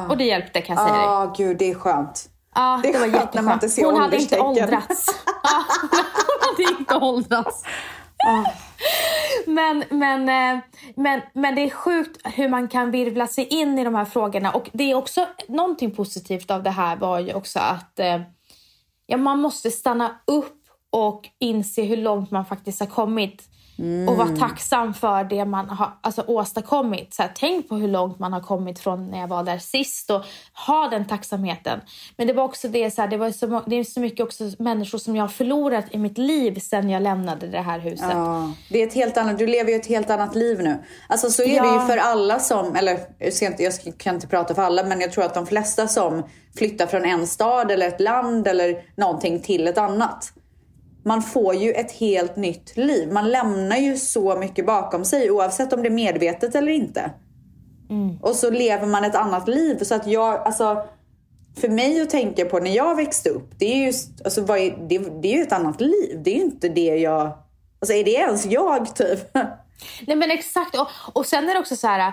S3: Och det hjälpte kan jag säga dig.
S2: Ja, gud det är skönt.
S3: Ja,
S2: det är
S3: det var
S2: skönt när man inte
S3: jätteskönt.
S2: ser
S3: Hon hade
S2: [laughs]
S3: inte
S2: ålderstecken.
S3: åldrats. Ja, hon hade inte åldrats. Men, men, eh, men, men det är sjukt hur man kan virvla sig in i de här frågorna. Och det är också någonting positivt av det här var ju också att eh, ja, man måste stanna upp och inse hur långt man faktiskt har kommit. Och vara tacksam för det man har alltså, åstadkommit. Så här, tänk på hur långt man har kommit från när jag var där sist och ha den tacksamheten. Men det var också det, så här, det, var så, må- det är så mycket också människor som jag har förlorat i mitt liv sen jag lämnade det här huset.
S2: Ja, det är ett helt annat, du lever ju ett helt annat liv nu. Alltså så är det
S3: Ja.
S2: ju för alla som, eller jag ska inte- jag ska- kan inte prata för alla, men jag tror att de flesta som flyttar från en stad eller ett land eller någonting till ett annat. Man får ju ett helt nytt liv. Man lämnar ju så mycket bakom sig oavsett om det är medvetet eller inte. Och så lever man ett annat liv. Så att jag, alltså, för mig att tänka på när jag växte upp, det är ju, alltså, vad är, det, det är ju ett annat liv. Det är ju inte det jag... Alltså är det ens jag typ? [laughs]
S3: Nej men exakt. Och, och sen är det också så här,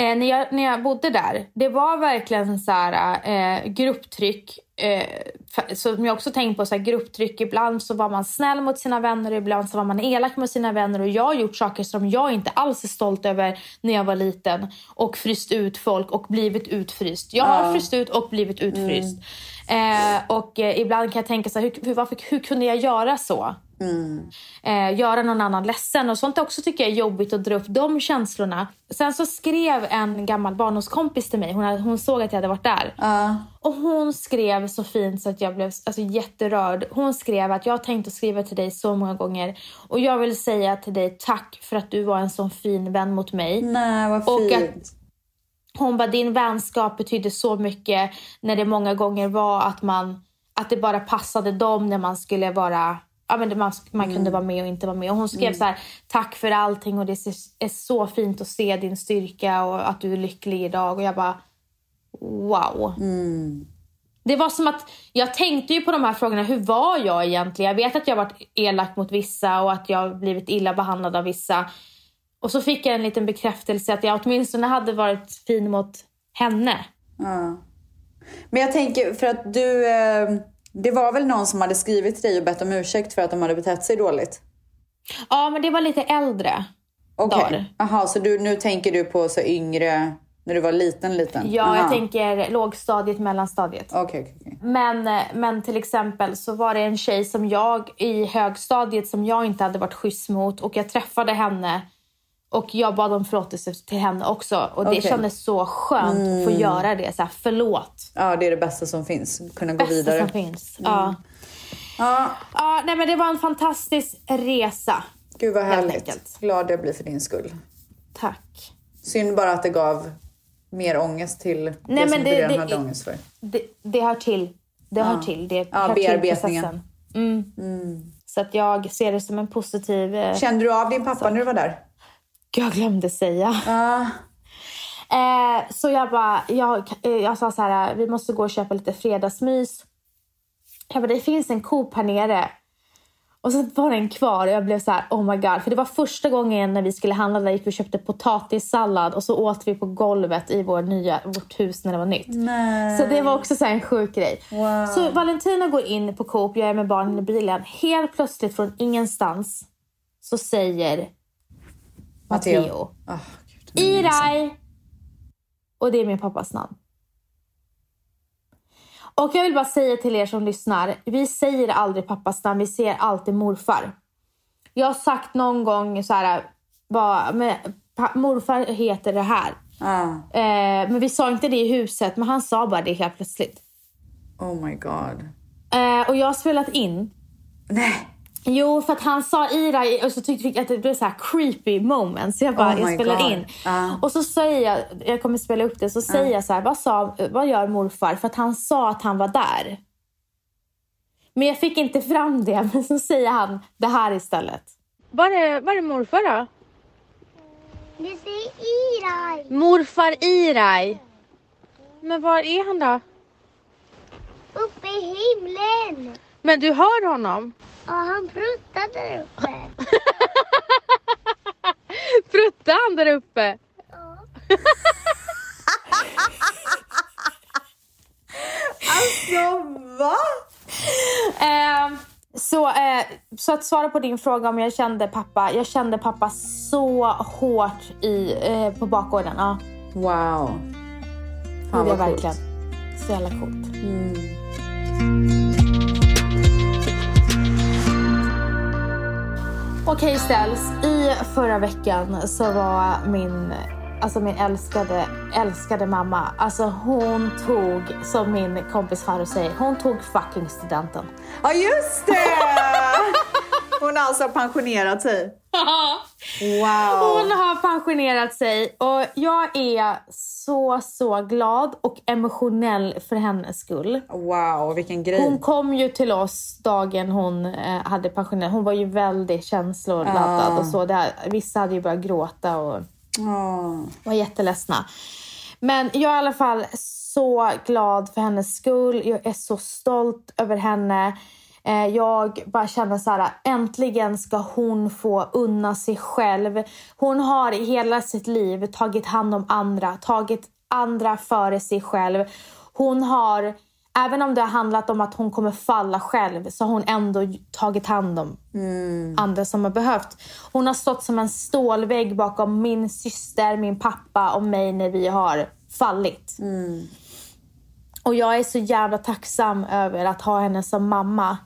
S3: eh, när, jag, när jag bodde där, det var verkligen så här, eh, grupptryck. Eh, fa- som jag också tänkt på, så här, grupptryck. Ibland så var man snäll mot sina vänner, ibland så var man elak mot sina vänner. Och jag har gjort saker som jag inte alls är stolt över när jag var liten. Och fryst ut folk och blivit utfryst. Jag har fryst ut och blivit utfryst. Eh, och eh, ibland kan jag tänka så här, hur, hur, varför, hur kunde jag göra så? eh, göra någon annan ledsen. Och sånt också tycker jag är jobbigt att dra upp de känslorna. Sen så skrev en gammal barndomskompis till mig. Hon, hade, hon såg att jag hade varit där. Och hon skrev så fint så att jag blev alltså, jätterörd. Hon skrev att jag har tänkt att skriva till dig så många gånger. Och jag vill säga till dig tack för att du var en sån fin vän mot mig.
S2: Nej, vad
S3: Och
S2: fint.
S3: att- Hon bara, din vänskap betydde så mycket när det många gånger var att man att det bara passade dem när man skulle vara Ja, men det- man, man
S2: Mm.
S3: kunde vara med och inte vara med. Och hon skrev så här, tack för allting och det ser- är så fint att se din styrka och att du är lycklig idag. Och jag bara, wow.
S2: Mm.
S3: Det var som att jag tänkte ju på de här frågorna. Hur var jag egentligen? Jag vet att jag varit elak mot vissa och att jag har blivit illa behandlad av vissa. Och så fick jag en liten bekräftelse att jag åtminstone hade varit fin mot henne.
S2: Men jag tänker, för att du... Eh, det var väl någon som hade skrivit till dig och bett om ursäkt för att de hade betett sig dåligt?
S3: Ja, men det var lite äldre. Dagar.
S2: Okej. Jaha, så du, nu tänker du på så yngre, när du var liten, liten?
S3: Ja, jag
S2: Aha.
S3: tänker lågstadiet, mellanstadiet.
S2: Okej, okej, okej.
S3: Men, eh, men till exempel så var det en tjej som jag i högstadiet som jag inte hade varit schysst mot och jag träffade henne och jag bad om förlåtelse till henne också. Och det
S2: Okej. Mm.
S3: kändes så skönt att få göra det. Så här, förlåt.
S2: Ja, det är det bästa som finns. Kunna gå
S3: Bästa
S2: vidare. Mm.
S3: som finns. Ja.
S2: Ja,
S3: Ja, nej, men det var en fantastisk resa.
S2: gud vad
S3: Helt
S2: härligt.
S3: enkelt.
S2: Glad jag blir för din skull.
S3: Tack.
S2: Synd bara att det gav mer ångest till
S3: men
S2: det som
S3: det-
S2: du redan
S3: det-
S2: hade ångest för.
S3: Det, det hör till. Det hör till. Det hör
S2: bearbetningen.
S3: till processen. Mm. Så att jag ser det som en positiv... Eh,
S2: Kände du av din pappa när du var där?
S3: Gud, jag glömde säga.
S2: Ja.
S3: [laughs] Eh, så jag bara, jag, eh, jag sa så här, vi måste gå och köpa lite fredagsmys. Jag bara, det finns en Coop här nere. Och så var den kvar och jag blev så här, oh my god. För det var första gången när vi skulle handla där gick vi och köpte potatissallad och så åt vi på golvet i vår nya, vårt hus när det var nytt. Så det var också så här en sjuk grej. Så Valentina går in på Coop, jag är med barnen i bilen. Helt plötsligt från ingenstans så säger
S2: Matteo.
S3: Matteo
S2: Ah, gud.
S3: Iray! Och det är min pappas namn. Och jag vill bara säga till er som lyssnar. Vi säger aldrig pappas namn, vi säger alltid morfar. Jag har sagt någon gång så här, bara, men, pa, morfar heter det här.
S2: Ah,
S3: Eh, men vi sa inte det i huset, men han sa bara det helt plötsligt.
S2: oh my god.
S3: Eh, och jag har spelat in.
S2: Nej.
S3: Jo, för att han sa Ira och så tyckte jag att det blev så här creepy moment. Så jag bara,
S2: Oh my
S3: jag spelar
S2: God.
S3: in.
S2: Ja.
S3: Och så säger jag, jag kommer spela upp det, så säger jag så här, vad, sa, vad gör morfar? För att han sa att han var där. Men jag fick inte fram det, [laughs] men så säger han det här istället. Var är, var är morfar då?
S5: Vi säger Irai.
S3: Morfar Iraj. Men var är han då?
S5: Uppe i himlen.
S3: Men du hör honom?
S5: Och han pruttade där uppe.
S3: Pruttar han där uppe?
S2: Va?
S3: Eh, Så, eh, så att svara på din fråga om jag kände pappa. Jag kände pappa så hårt i, eh, på bakgården. Ja,
S2: Wow.
S3: det
S2: Fan
S3: gjorde jag
S2: vad
S3: verkligen.
S2: coolt.
S3: Så jävla coolt. Mm. Okej Ställs, i förra veckan så var min, alltså min älskade, älskade mamma, alltså hon tog, som min kompis Farao säger, hon tog fucking studenten.
S2: Ja, just
S3: [laughs]
S2: det! Hon har alltså pensionerat sig.
S3: Hon
S2: Wow.
S3: har pensionerat sig och jag är så, så glad och emotionell för hennes skull.
S2: Wow, vilken
S3: Hon
S2: grej.
S3: kom ju till oss dagen hon eh, hade pensionerat. Hon var ju väldigt känsloladdad och så. Det här, vissa hade ju börjat gråta och
S2: Ja.
S3: var jätteledsna. Men jag är i alla fall så glad för hennes skull. Jag är så stolt över henne. Eh, Jag bara känner så här, äntligen ska hon få unna sig själv. Hon har i hela sitt liv tagit hand om andra, tagit andra före sig själv. Hon har, även om det har handlat om att hon kommer falla själv, så har hon ändå tagit hand om andra som har behövt. Hon har stått som en stålvägg bakom min syster, min pappa och mig när vi har fallit. Och jag är så jävla tacksam över att ha henne som mamma.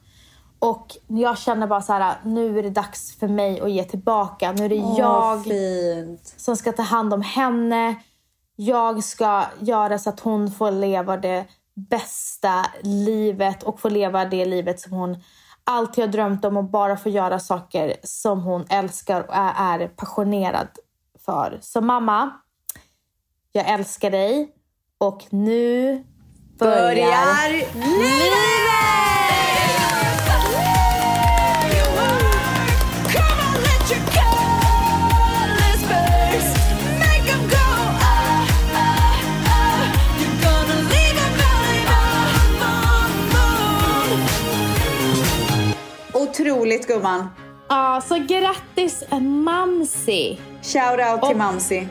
S3: Och jag känner bara så här, nu är det dags för mig att ge tillbaka. Nu är det
S2: Vad
S3: jag
S2: fint.
S3: som ska ta hand om henne. Jag ska göra så att hon får leva det bästa livet och få leva det livet som hon alltid har drömt om och bara få göra saker som hon älskar och är- är passionerad för. Så mamma, jag älskar dig och nu börjar
S2: Börjar livet! Otroligt gumman.
S3: Ja, så grattis Mamsi!
S2: Shout out till
S3: Och-
S2: Mamsi.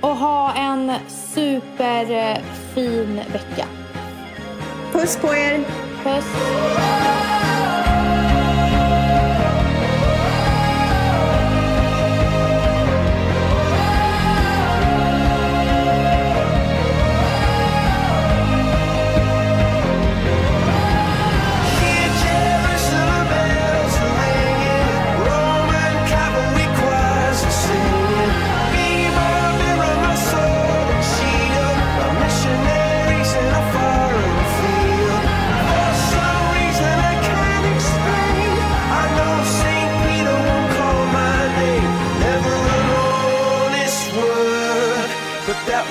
S3: Och ha en superfin vecka.
S2: Puss på er.
S3: Puss!
S6: But That